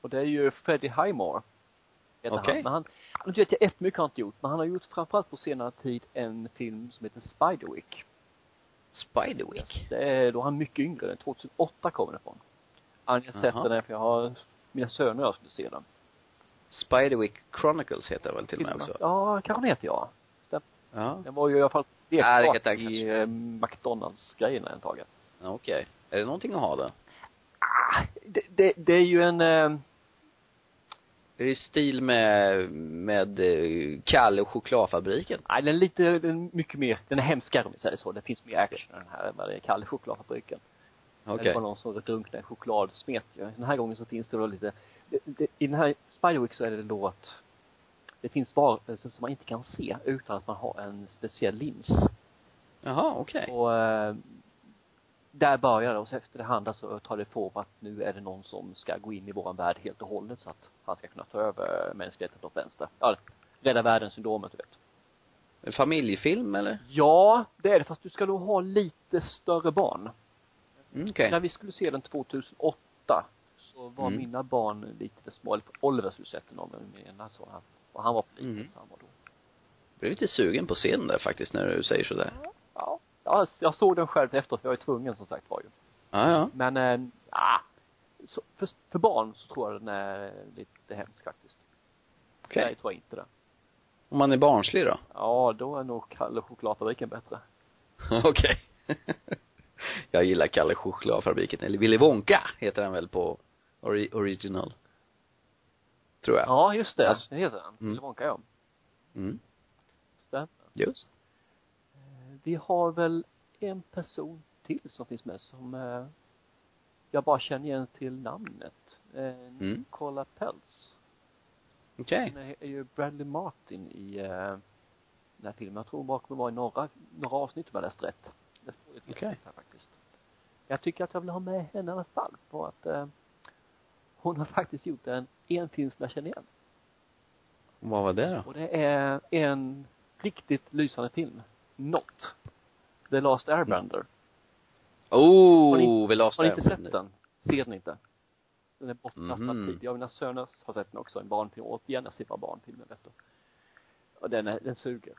B: Och det är ju Freddie Highmore. heter
A: Okej.
B: Han. Men han, han vet jag ett mycket har han inte gjort, men han har gjort framförallt på senare tid en film som heter Spiderwick.
A: Spiderwick.
B: Det är, då är han mycket yngre, den 2008 kommer den ifrån. Anja
A: Jaha.
B: sett den för jag har, mina söner och jag skulle se den.
A: Spiderwick Chronicles heter den väl till och med också?
B: Ja, kanske den heter jag. Stämmer.
A: Ja.
B: Den var ju i alla fall
A: Ja, det kan jag
B: leksak
A: tänka
B: i
A: mig.
B: eh, McDonalds-grejerna en tag.
A: ja Okej. Är det någonting att ha då?
B: Ah, Det, det, det är ju en, eh,
A: Det är i stil med, med eh, Kalle och chokladfabriken.
B: nej den är lite, den är mycket mer, den är hemskare om vi säger så. Det finns mer action i den här än vad det är Kalle chokladfabriken.
A: Okej.
B: Det var någon som drunknade i chokladsmet ju. Den här gången så finns det då lite, det, det, i den här Spiderwick så är det då att det finns varelser som man inte kan se utan att man har en speciell lins.
A: Jaha, okej.
B: Och eh, där börjar det och så efter det handlar så tar det form att nu är det någon som ska gå in i våran värld helt och hållet så att han ska kunna ta över mänskligheten åt vänster. Ja, rädda världen-syndromet du vet.
A: En Familjefilm eller?
B: Ja, det är det fast du ska nog ha lite större barn.
A: Mm, okej.
B: När vi skulle se den 2008 så var
A: Mm.
B: mina barn lite för små. Eller Oliver skulle sett den om den ena så han, och han var för liten
A: Mm.
B: så han var då.
A: Jag blev lite sugen på scen där faktiskt när du säger sådär.
B: Ja. ja, jag såg den själv efteråt, jag är tvungen som sagt var ju.
A: Ja, ja.
B: Men, eh, ja. Så för, för barn så tror jag den är lite hemsk faktiskt.
A: Okej.
B: Nej, jag tror inte det.
A: Om man är barnslig då?
B: Ja, då är nog Kalle chokladfabriken bättre.
A: Okej. jag gillar Kalle Chokladfabriken, eller Willy Wonka heter han väl på ori- original. Tror jag.
B: Ja, just det.
A: Alltså-
B: Det heter den.
A: Mm.
B: Willy Wonka, ja.
A: Mm.
B: Stämmer.
A: Just.
B: Eh, Vi har väl en person till som finns med som eh, jag bara känner igen till namnet. Eh, Nicola Peltz.
A: Okej.
B: Hon är, är ju Bradley Martin i eh, den här filmen. Jag tror hon bara kommer vara i några, några avsnitt om jag läst rätt. Det står lite
A: Okej.
B: rätt här faktiskt. Jag tycker att jag vill ha med henne i alla fall på att eh, hon har faktiskt gjort en, en film som jag känner igen.
A: Vad var det då?
B: Och det är en riktigt lysande film. Not. The Last Airbender. Har ni-
A: Oh, vi låste
B: Har ni inte sett den? Ser den inte? Den är bortkastad
A: Mhm.
B: tid. Jag och mina söner har sett den också, en barnfilm. Återigen, jag ser bara barnfilmer vet du. Och den, är, den suger.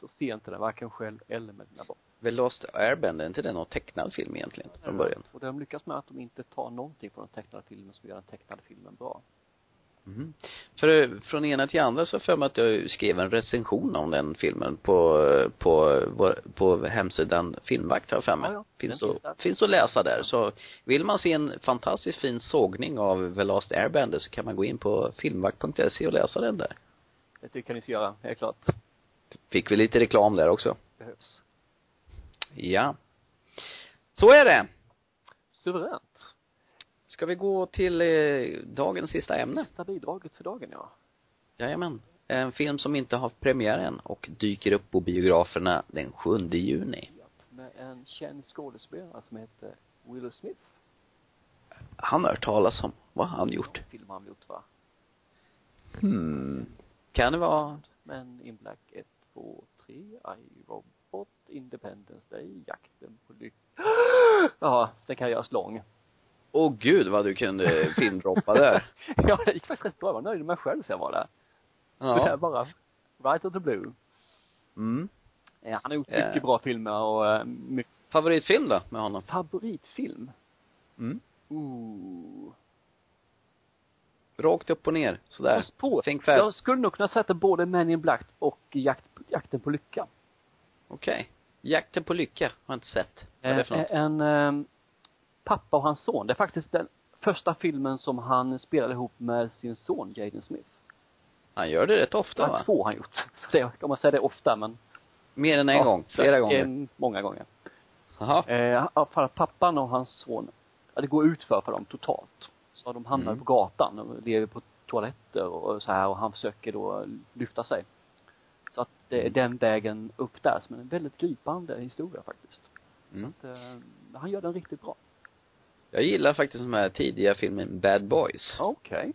B: Så se inte den, varken själv eller med dina barn.
A: The Lost Airbender, är inte det någon tecknad film egentligen? Från början?
B: Och de lyckas med att de inte tar någonting från den tecknade filmen som gör den tecknade filmen bra.
A: Mhm. För eh, från ena till andra så har jag för mig att jag skrev en recension om den filmen på, eh, på, vår- på hemsidan Filmvakt har jag för mig.
B: Ja, ja.
A: Finns,
B: Den
A: att,
B: finns där.
A: finns att läsa där. Så vill man se en fantastiskt fin sågning av The Last Airbender så kan man gå in på filmvakt.se och läsa den där.
B: Det tycker jag ni ska göra, helt klart.
A: Fick vi lite reklam där också.
B: Behövs.
A: Ja. Så är det.
B: Suveränt.
A: Ska vi gå till eh, dagens sista ämne?
B: Sista bidraget för dagen ja.
A: Jajamän. En film som inte har premiär än och dyker upp på biograferna den 7 juni.
B: Japp, Med en känd skådespelare som heter Will Smith.
A: han har hört talas om. Vad har han gjort?
B: Någon film har han gjort va?
A: Hmm. Kan det vara
B: Men in Black 1, 2, 3, I Robot, Independence Day, Jakten på lyck... Ja, den kan göras lång.
A: Åh oh, gud vad du kunde filmdroppa där.
B: ja, det gick faktiskt rätt bra. Jag var nöjd med mig själv så jag var där. Det här
A: Ja.
B: bara, right of the blue.
A: Mm.
B: Ja, han har gjort
A: Ja.
B: mycket bra filmer och eh, mycket
A: Favoritfilm då med honom?
B: favoritfilm.
A: Mm.
B: Ooh.
A: Rakt upp och ner, sådär.
B: Pass på.
A: Think fast.
B: Jag skulle nog kunna sätta både Men in Black och jakt, Jakten på lycka.
A: Okej. Jakten på lycka har jag inte sett. Vad är det för
B: Eh,
A: något?
B: En eh, pappa och hans son. Det är faktiskt den första filmen som han spelade ihop med sin son Jaden Smith.
A: Han gör det rätt
B: Det
A: ofta
B: var
A: va?
B: två han gjort. Så det, om man säger det ofta men.
A: Mer än en
B: ja,
A: gång?
B: så
A: Flera
B: det är
A: gånger?
B: Många gånger.
A: Jaha.
B: Eh, i alla fall pappan och hans son ja, det går utför för dem totalt. Så de hamnar
A: Mm.
B: på gatan och lever på toaletter och så här och han försöker då lyfta sig. Så att det är
A: Mm.
B: den vägen upp där som är en väldigt gripande historia faktiskt.
A: Mm.
B: Så att, eh, han gör den riktigt bra.
A: Jag gillar faktiskt den här tidiga filmen Bad Boys.
B: Okej.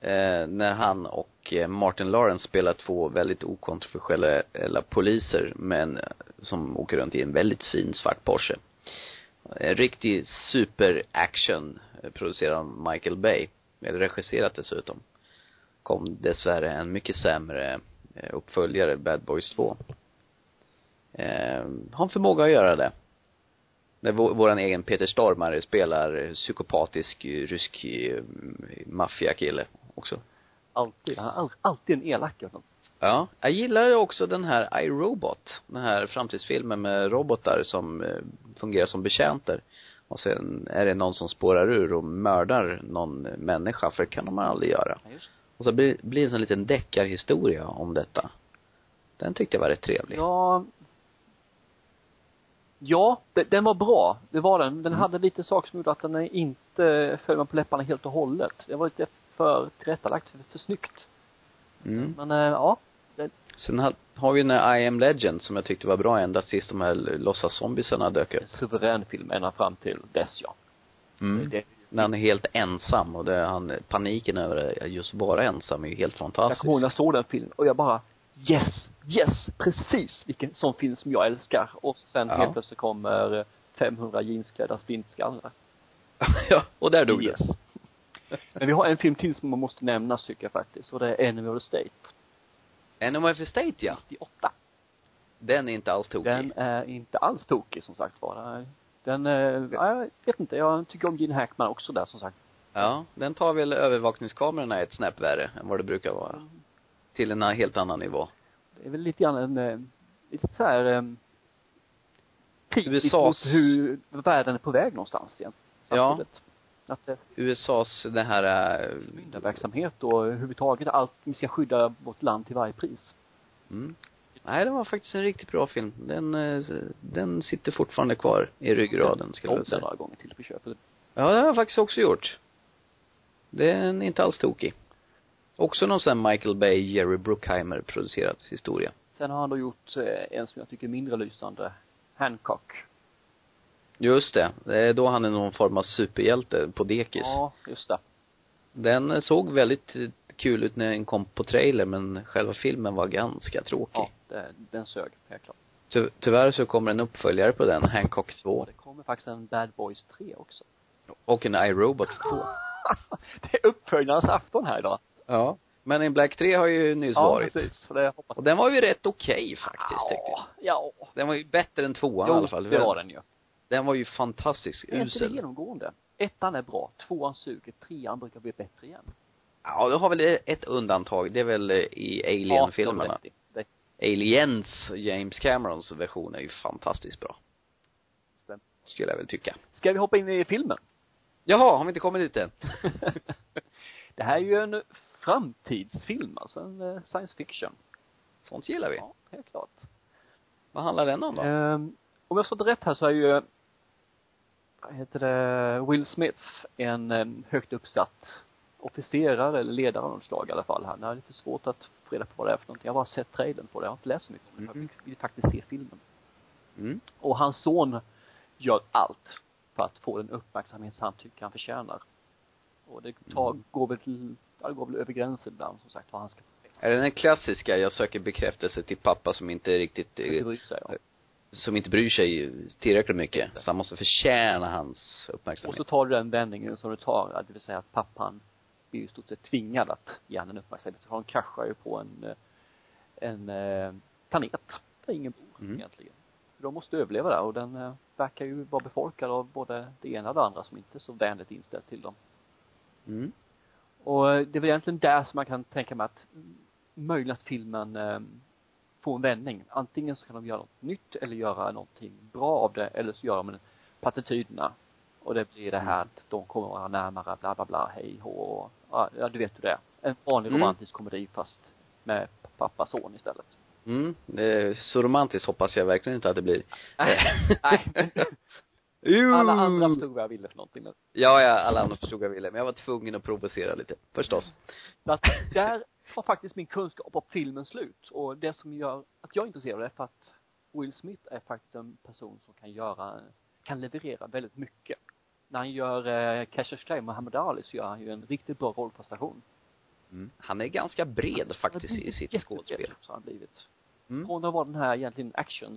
A: Eh, när han och eh, Martin Lawrence spelar två väldigt okontroversiella eh, poliser men eh, som åker runt i en väldigt fin svart Porsche. En riktig superaction eh, producerad av Michael Bay. Eller regisserat dessutom. Kom dessvärre en mycket sämre eh, uppföljare, Bad Boys 2. Eh, har en förmåga att göra det. När vår, våran egen Peter Stormare spelar eh, psykopatisk eh, rysk eh, maffiakille också.
B: Alltid. Han är all, alltid en elak. Alltså.
A: Ja. Jag gillar också den här I, Robot. Den här framtidsfilmen med robotar som eh, fungerar som betjänter. Och sen är det någon som spårar ur och mördar någon människa, för det kan de aldrig göra.
B: Ja, just det.
A: Och så blir, blir det en sån liten deckarhistoria om detta. Den tyckte jag var rätt trevlig.
B: Ja. Ja, de- den var bra. Det var den. Den
A: Mm.
B: hade lite saker som gjorde att den inte föll mig på läpparna helt och hållet. Det var lite för tillrättalagt, för, för snyggt.
A: Mm.
B: Men eh, ja.
A: Sen har, har vi den här I am legend som jag tyckte var bra ända tills de här låtsas-zombisarna dök upp.
B: En suverän film ända fram till dess ja.
A: Mm.
B: Det,
A: När han är helt ensam och det, han, paniken över att just vara ensam är ju helt
B: jag
A: fantastisk.
B: kommer ihåg när jag såg den filmen och jag bara yes, yes, precis vilken sån film som jag älskar. Och sen
A: Ja.
B: helt plötsligt kommer eh, 500 jeansklädda flintskallar.
A: ja, och där dog
B: Yes.
A: det.
B: Men vi har en film till som man måste nämna tycker jag faktiskt och det är Enemy of the State.
A: NMF Estate ja.
B: 98.
A: Den är inte alls tokig.
B: Den är inte alls tokig som sagt var. Den, eh, ja, jag vet inte, jag tycker om Gene Hackman också där som sagt.
A: Ja, den tar väl övervakningskamerorna ett snäpp värre än vad det brukar vara. Till en helt annan nivå.
B: Det är väl lite grann en, eh, lite så här eh, kritisk
A: USAs
B: mot hur världen är på väg någonstans igen. Samtidigt. Att eh,
A: USAs det här eh,
B: förmyndarverksamhet och överhuvudtaget allt, vi ska skydda vårt land till varje pris.
A: Mm. Nej, det var faktiskt en riktigt bra film. Den, eh, den sitter fortfarande kvar i ryggraden skulle
B: Om
A: jag
B: den
A: säga.
B: några gånger till på köpet.
A: Ja, det har jag faktiskt också gjort. Den är inte alls tokig. Också någon sån här Michael Bay, Jerry Bruckheimer producerad historia.
B: Sen har han då gjort eh, en som jag tycker är mindre lysande, Hancock.
A: Just det. Det är då han är någon form av superhjälte på dekis.
B: Ja, just det.
A: Den eh, såg väldigt eh, kul ut när den kom på trailer men själva filmen var ganska tråkig.
B: Ja, det, den sög, helt klart.
A: Ty- tyvärr så kommer en uppföljare på den, Hancock 2.
B: Och det kommer faktiskt en Bad Boys 3 också.
A: Och en iRobot 2.
B: det är uppföljarens afton här idag.
A: Ja. Men in Black 3 har ju nyss varit.
B: precis. Så det hoppas
A: Och den var ju rätt okej faktiskt tyckte jag.
B: Ja.
A: Den var ju bättre än tvåan i alla fall.
B: det var den ju.
A: Den var ju fantastisk
B: Är inte det
A: usel.
B: genomgående? Ettan är bra, tvåan suger, trean brukar bli bättre igen.
A: Ja, du har väl ett undantag. Det är väl eh, i
B: Ja, det
A: Alien-filmerna.
B: har du rätt i. Det
A: Aliens, James Camerons version är ju fantastiskt bra.
B: stämmer.
A: Skulle jag väl tycka.
B: Ska vi hoppa in i filmen?
A: Jaha, har vi inte kommit dit än?
B: Det här är ju en framtidsfilm, alltså en eh, science fiction.
A: Sånt gillar vi.
B: Ja, helt klart.
A: Vad handlar den om då?
B: Ehm, om jag förstått det rätt här så är ju, eh, vad heter det, Will Smith en eh, högt uppsatt officerare eller ledare av något slag i alla fall här. Det är lite svårt att få reda på vad det är för någonting. Jag har bara sett trailern på det. Jag har inte läst så mycket om det. Jag
A: Mhm.
B: vill- vill faktiskt se filmen.
A: Mm.
B: Och hans son gör allt för att få den uppmärksamhet som han tycker han förtjänar. Och det tar, går väl till, ja, det går väl över gränsen ibland som sagt vad han ska
A: Är det den klassiska, jag söker bekräftelse till pappa som inte riktigt, eh,
B: bry sig om.
A: som inte bryr sig tillräckligt mycket. Så han måste förtjäna hans
B: Och
A: uppmärksamhet.
B: så tar du den vändningen som du tar, det vill säga att pappan blir ju i stort sett tvingad att ge henne en uppmärksamhet. För hon kraschar ju på en, eh, en eh, planet där ingen bor
A: Mm.
B: egentligen. För de måste överleva där och den eh, verkar ju vara befolkad av både det ena och det andra som inte är så vänligt inställt till dem.
A: Mm.
B: Och eh, det är väl egentligen där som man kan tänka mig att mm, möjligen att filmen eh, får en vändning. Antingen så kan de göra något nytt eller göra någonting bra av det eller så gör de en på attityderna. Och det blir det här att de kommer vara närmare, bla bla bla, hej hå, och- ja, ja du vet hur det är. En vanlig
A: Mm.
B: romantisk komedi fast med pappa son istället.
A: Mm, eh, så romantiskt hoppas jag verkligen inte att det blir.
B: Nej. Nej. Alla andra förstod vad jag ville för någonting. nu.
A: Ja, ja, alla andra förstod vad jag ville, men jag var tvungen att provocera lite, förstås.
B: Så att där var faktiskt min kunskap om filmen slut. Och det som gör att jag är intresserad är för att Will Smith är faktiskt en person som kan göra, kan leverera väldigt mycket. När han gör eh, Cashers Clay, Muhammad Ali, så gör han ju en riktigt bra rollprestation. Mm.
A: Han är ganska bred faktiskt i sitt
B: Jättebred,
A: skådespel.
B: Så har han blivit.
A: Mm.
B: Från att vara den här egentligen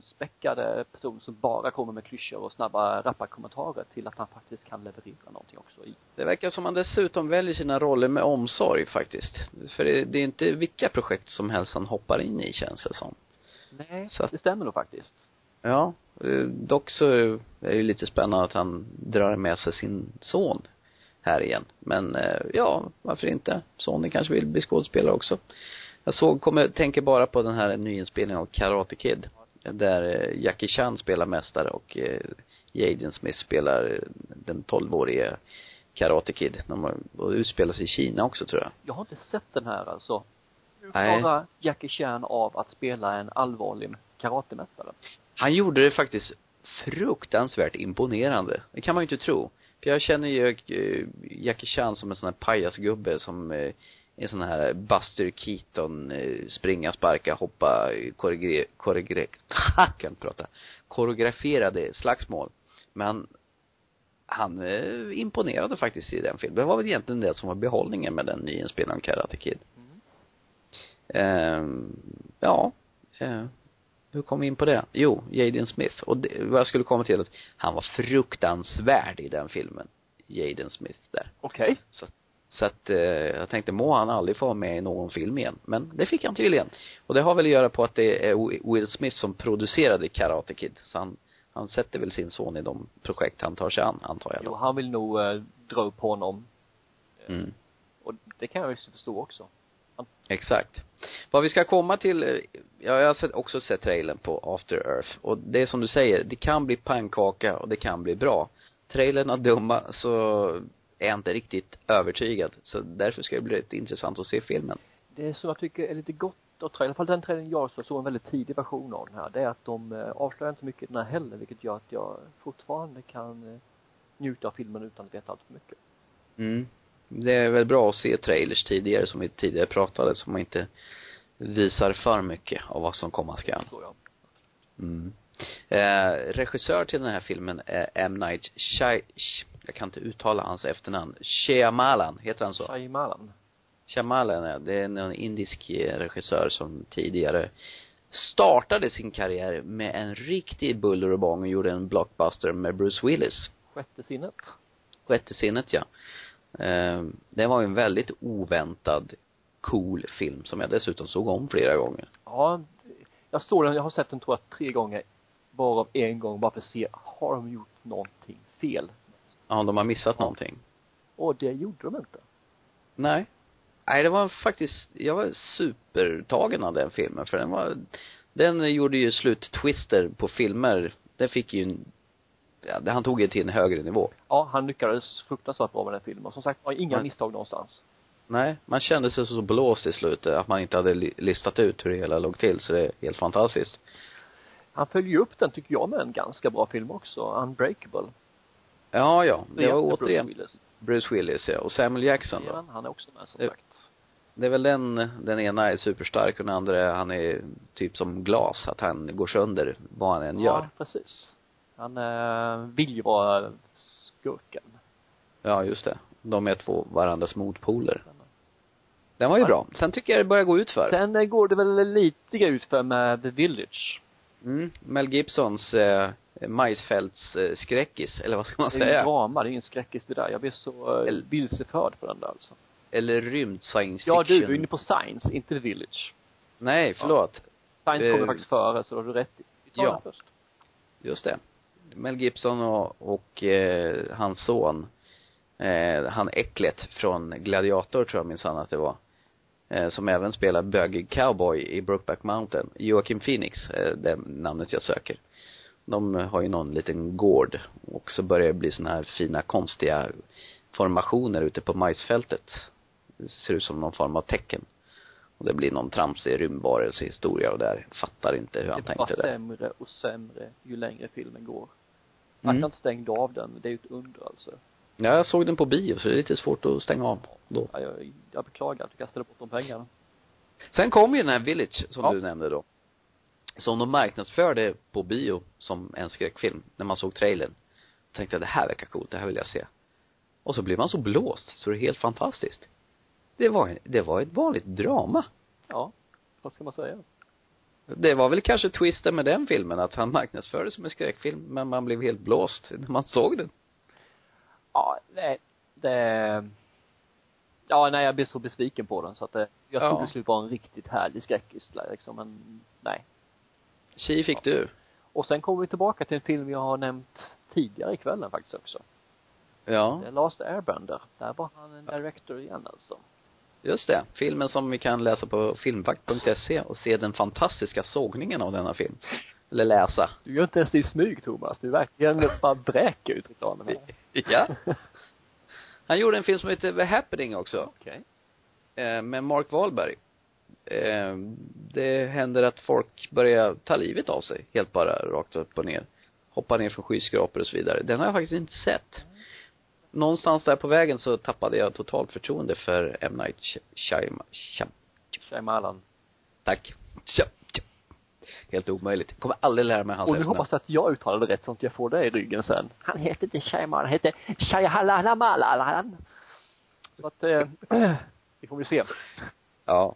B: actionspäckade personen som bara kommer med klyschor och snabba rapparkommentarer till att han faktiskt kan leverera någonting också i.
A: Det verkar som han dessutom väljer sina roller med omsorg faktiskt. För det, det är inte vilka projekt som helst han hoppar in i känns det som.
B: Nej.
A: Så att-
B: Det stämmer nog faktiskt.
A: Ja, eh, dock så är det ju lite spännande att han drar med sig sin son här igen. Men eh, ja, varför inte? Sonen kanske vill bli skådespelare också. Jag såg, kommer, tänker bara på den här nyinspelningen av Karate Kid. Där eh, Jackie Chan spelar mästare och eh, Jaden Smith spelar eh, den 12-årige Karate Kid. De har- Och det utspelas i Kina också tror jag.
B: Jag har inte sett den här alltså. Nu
A: Nej.
B: klarar Jackie Chan av att spela en allvarlig karatemästare.
A: Han gjorde det faktiskt fruktansvärt imponerande. Det kan man ju inte tro. För jag känner ju eh, Jackie Chan som en sån här pajasgubbe som eh, en sån här Buster Keaton, eh, springa, sparka, hoppa, eh, koreogre, koreogre, kan inte prata, koreograferade slagsmål. Men han eh, imponerade faktiskt i den filmen. Det var väl egentligen det som var behållningen med den nyinspelningen av Karate Kid. Ehm, ja. Eh, hur kom vi in på det? Jo, Jaden Smith. Och det, vad jag skulle komma till är att han var fruktansvärd i den filmen. Jaden Smith där.
B: Okej.
A: Så, så att eh, jag tänkte, må han aldrig få vara med i någon film igen. Men det fick han tydligen. Och det har väl att göra på att det är Wi- Will Smith som producerade Karate Kid. Så han, han sätter väl sin son i de projekt han tar sig an, antar jag
B: Jo,
A: då.
B: han vill nog eh, dra upp honom.
A: Mm.
B: Och det kan jag ju förstå också.
A: Exakt. Vad vi ska komma till, eh, ja, jag har sett- också sett trailern på After Earth och det är som du säger, det kan bli pannkaka och det kan bli bra. Trailern är dumma så är jag inte riktigt övertygad. Så därför ska det bli rätt intressant att se filmen.
B: Det som jag tycker är lite gott att trailer, i alla fall den trailern jag såg, såg en väldigt tidig version av den här, det är att de eh, avslöjar inte så mycket i den här heller, vilket gör att jag fortfarande kan eh, njuta av filmen utan att veta allt för mycket.
A: Mm. Det är väl bra att se trailers tidigare som vi tidigare pratade, så man inte visar för mycket av vad som komma skall.
B: Tror jag.
A: Mm. Eh, regissör till den här filmen är M. Night Shy... Jag kan inte uttala hans efternamn. Shyamalan, heter han så?
B: Shyamalan.
A: Shyamalan, ja. Det är en indisk eh, regissör som tidigare startade sin karriär med en riktig buller och bång och gjorde en blockbuster med Bruce Willis.
B: Sjätte sinnet.
A: Sjätte sinnet, ja. Eh, det var ju en väldigt oväntad cool film som jag dessutom såg om flera gånger.
B: Ja, jag såg den, jag har sett den tror jag tre gånger. Varav en gång bara för att se, har de gjort någonting fel?
A: Ja, de har missat någonting.
B: Och det gjorde de inte.
A: Nej. Nej, det var faktiskt, jag var supertagen av den filmen för den var, den gjorde ju sluttwister på filmer. Den fick ju, en- ja, han tog ju till en högre nivå.
B: Ja, han lyckades fruktansvärt bra med den filmen. Som sagt var, inga
A: Nej.
B: misstag någonstans.
A: Nej, man kände sig så blåst i slutet att man inte hade li- listat ut hur det hela låg till så det är helt fantastiskt.
B: Han följer ju upp den, tycker jag, med en ganska bra film också. Unbreakable.
A: Ja, ja, det var
B: Jätte- Bruce
A: återigen
B: Willis.
A: Bruce Willis ja, och Samuel Jackson då.
B: Igen, han är också med som
A: Det-
B: sagt.
A: Det är väl den, den ena är superstark och den andra är, han är typ som glas, att han går sönder vad han än gör.
B: Ja, precis. Han eh, vill ju vara skurken.
A: Ja, just det. De är två varandras motpoler. Den var ju bra. Sen tycker jag det börjar gå ut för.
B: Sen eh, går det väl lite ut för med The Village.
A: Mm. Mel Gibsons eh, majsfälts eh, skräckis, eller vad ska man
B: Det är ju
A: säga?
B: drama, det är ingen skräckis det där. Jag blev så eh,
A: Eller-
B: vilseförd på den där alltså.
A: Eller rymd science fiction.
B: Ja du, du är inne på Science, inte The Village.
A: Nej, förlåt.
B: Science
A: Eh,
B: kommer faktiskt före, så då har du rätt i. Vi tar
A: ja.
B: den först.
A: Just det. Mel Gibson och, och eh, hans son, eh, han Äcklet från Gladiator tror jag minsann att det var. Eh, som även spelar bögig cowboy i Brookback Mountain. Joakim Phoenix, eh, det namnet jag söker. De har ju någon liten gård och så börjar det bli såna här fina konstiga formationer ute på majsfältet. Det ser ut som någon form av tecken. Och det blir någon tramsig rymdvarelsehistoria och där, fattar inte hur han
B: Det blir
A: tänkte
B: bara
A: där.
B: sämre och sämre ju längre filmen går. Att
A: Mm.
B: han inte stängde av den, det är ju ett under alltså.
A: Ja, jag såg den på bio så det är lite svårt att stänga av då.
B: Ja, jag, jag beklagar att du kastade bort de pengarna.
A: Sen kom ju den här Village som
B: Ja.
A: du nämnde då. Som de marknadsförde på bio som en skräckfilm, när man såg trailern. Tänkte jag det här verkar coolt, det här vill jag se. Och så blev man så blåst så det är helt fantastiskt. Det var, en, det var ett vanligt drama.
B: Ja, vad ska man säga?
A: Det var väl kanske twisten med den filmen, att han marknadsförde som en skräckfilm, men man blev helt blåst när man såg den.
B: Ja, nej, det Ja, nej, jag blev så besviken på den så att det, jag
A: Ja.
B: trodde det skulle vara en riktigt härlig skräckis liksom, men nej.
A: Tji fick du.
B: Och sen kommer vi tillbaka till en film jag har nämnt tidigare i kvällen faktiskt också.
A: Ja,
B: The Last Airbender. Där var han en director igen alltså.
A: just det. Filmen som vi kan läsa på filmvakt.se och se den fantastiska sågningen av denna film. Eller läsa.
B: Du gör inte ens det i smyg Thomas. Du verkligen bara bräker ut reklamen här.
A: Ja. Han gjorde en film som heter The Happening också,
B: Okej.
A: eh, med Mark Wahlberg. Eh, Det händer att folk börjar ta livet av sig, helt bara rakt upp och ner. Hoppa ner från skyskrapor och så vidare. Den har jag faktiskt inte sett. Någonstans där på vägen så tappade jag totalt förtroende för M. Night Shy- Shyam- Shyam-
B: Shyamalan.
A: Tack. Shyam- Shyam. Helt omöjligt. Jag kommer aldrig lära mig hans
B: Och nu
A: efternamn.
B: hoppas jag att jag uttalar det rätt så att jag får det i ryggen sen. Han heter inte Shyamalan, han heter Shyahalalamalalalan. Så att, eh, vi får väl se.
A: Ja.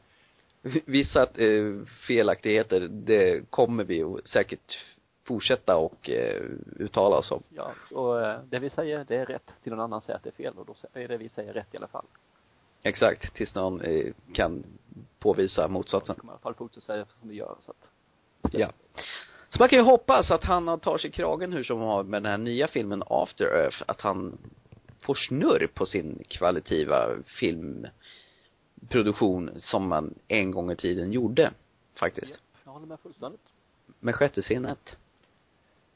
A: Vissa eh, felaktigheter, det kommer vi att säkert fortsätta och eh, uttala oss om.
B: Ja, och eh, det vi säger, det är rätt. Till någon annan säger att det är fel och då är det vi säger rätt i alla fall.
A: Exakt, tills någon eh, kan påvisa
B: Vi
A: motsatsen.
B: kommer i alla fall fortsätta säga som vi gör så att.
A: Ja. Så man kan ju hoppas att han har- tar sig kragen hur som har med den här nya filmen After Earth, att han får snurr på sin kvalitativa filmproduktion som man en gång i tiden gjorde, faktiskt.
B: Jag håller med fullständigt.
A: Med sjätte sinnet.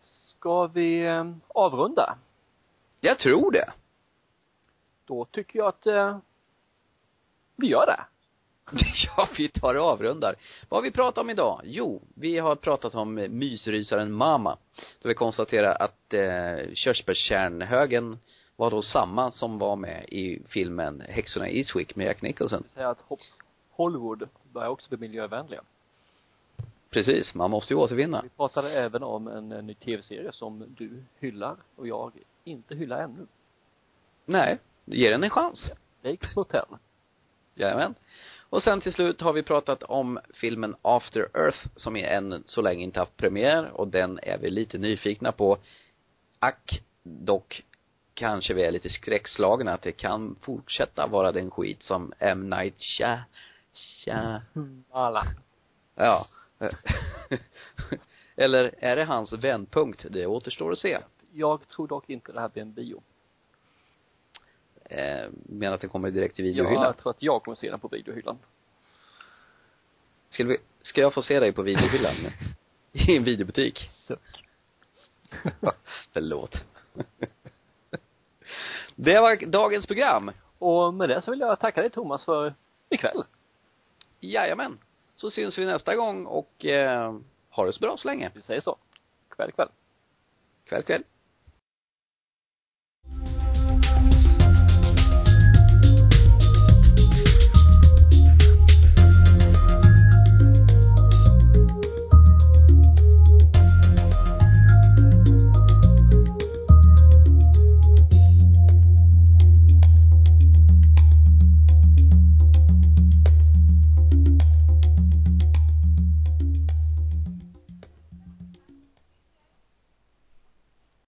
B: Ska vi eh, avrunda?
A: Jag tror det.
B: Då tycker jag att eh, vi gör det.
A: Ja, vi tar och avrundar. Vad har vi pratat om idag? Jo, vi har pratat om eh, mysrysaren Mama. Då vi konstaterar att eh, körsbärskärnhögen var då samma som var med i filmen Häxorna i Eastwick med Jack Nicholson.
B: Säga att Ho- Hollywood börjar också bli miljövänliga.
A: Precis, man måste ju återvinna.
B: Vi pratade även om en eh, ny tv-serie som du hyllar och jag inte hyllar ännu.
A: Nej, ge den en chans.
B: Lakes Motel.
A: Jajamän. Och sen till slut har vi pratat om filmen After Earth som är än så länge inte haft premiär och den är vi lite nyfikna på. Ack, dock kanske vi är lite skräckslagna att det kan fortsätta vara den skit som M. Night Shy, Shy,
B: Alla.
A: ja. Eller är det hans vändpunkt? Det återstår att se.
B: Jag tror dock inte det här blir en bio.
A: Eh, menar att den kommer direkt till
B: Ja,
A: videohyllan.
B: jag tror att jag kommer se den på videohyllan.
A: Ska, vi, ska jag få se dig på videohyllan? I en videobutik?
B: Suck.
A: Förlåt. Det var dagens program.
B: Och med det så vill jag tacka dig Thomas för ikväll.
A: Jajamän. Så syns vi nästa gång och eh, ha det så bra så länge.
B: Vi säger så. Kväll, kväll.
A: Kväll, kväll.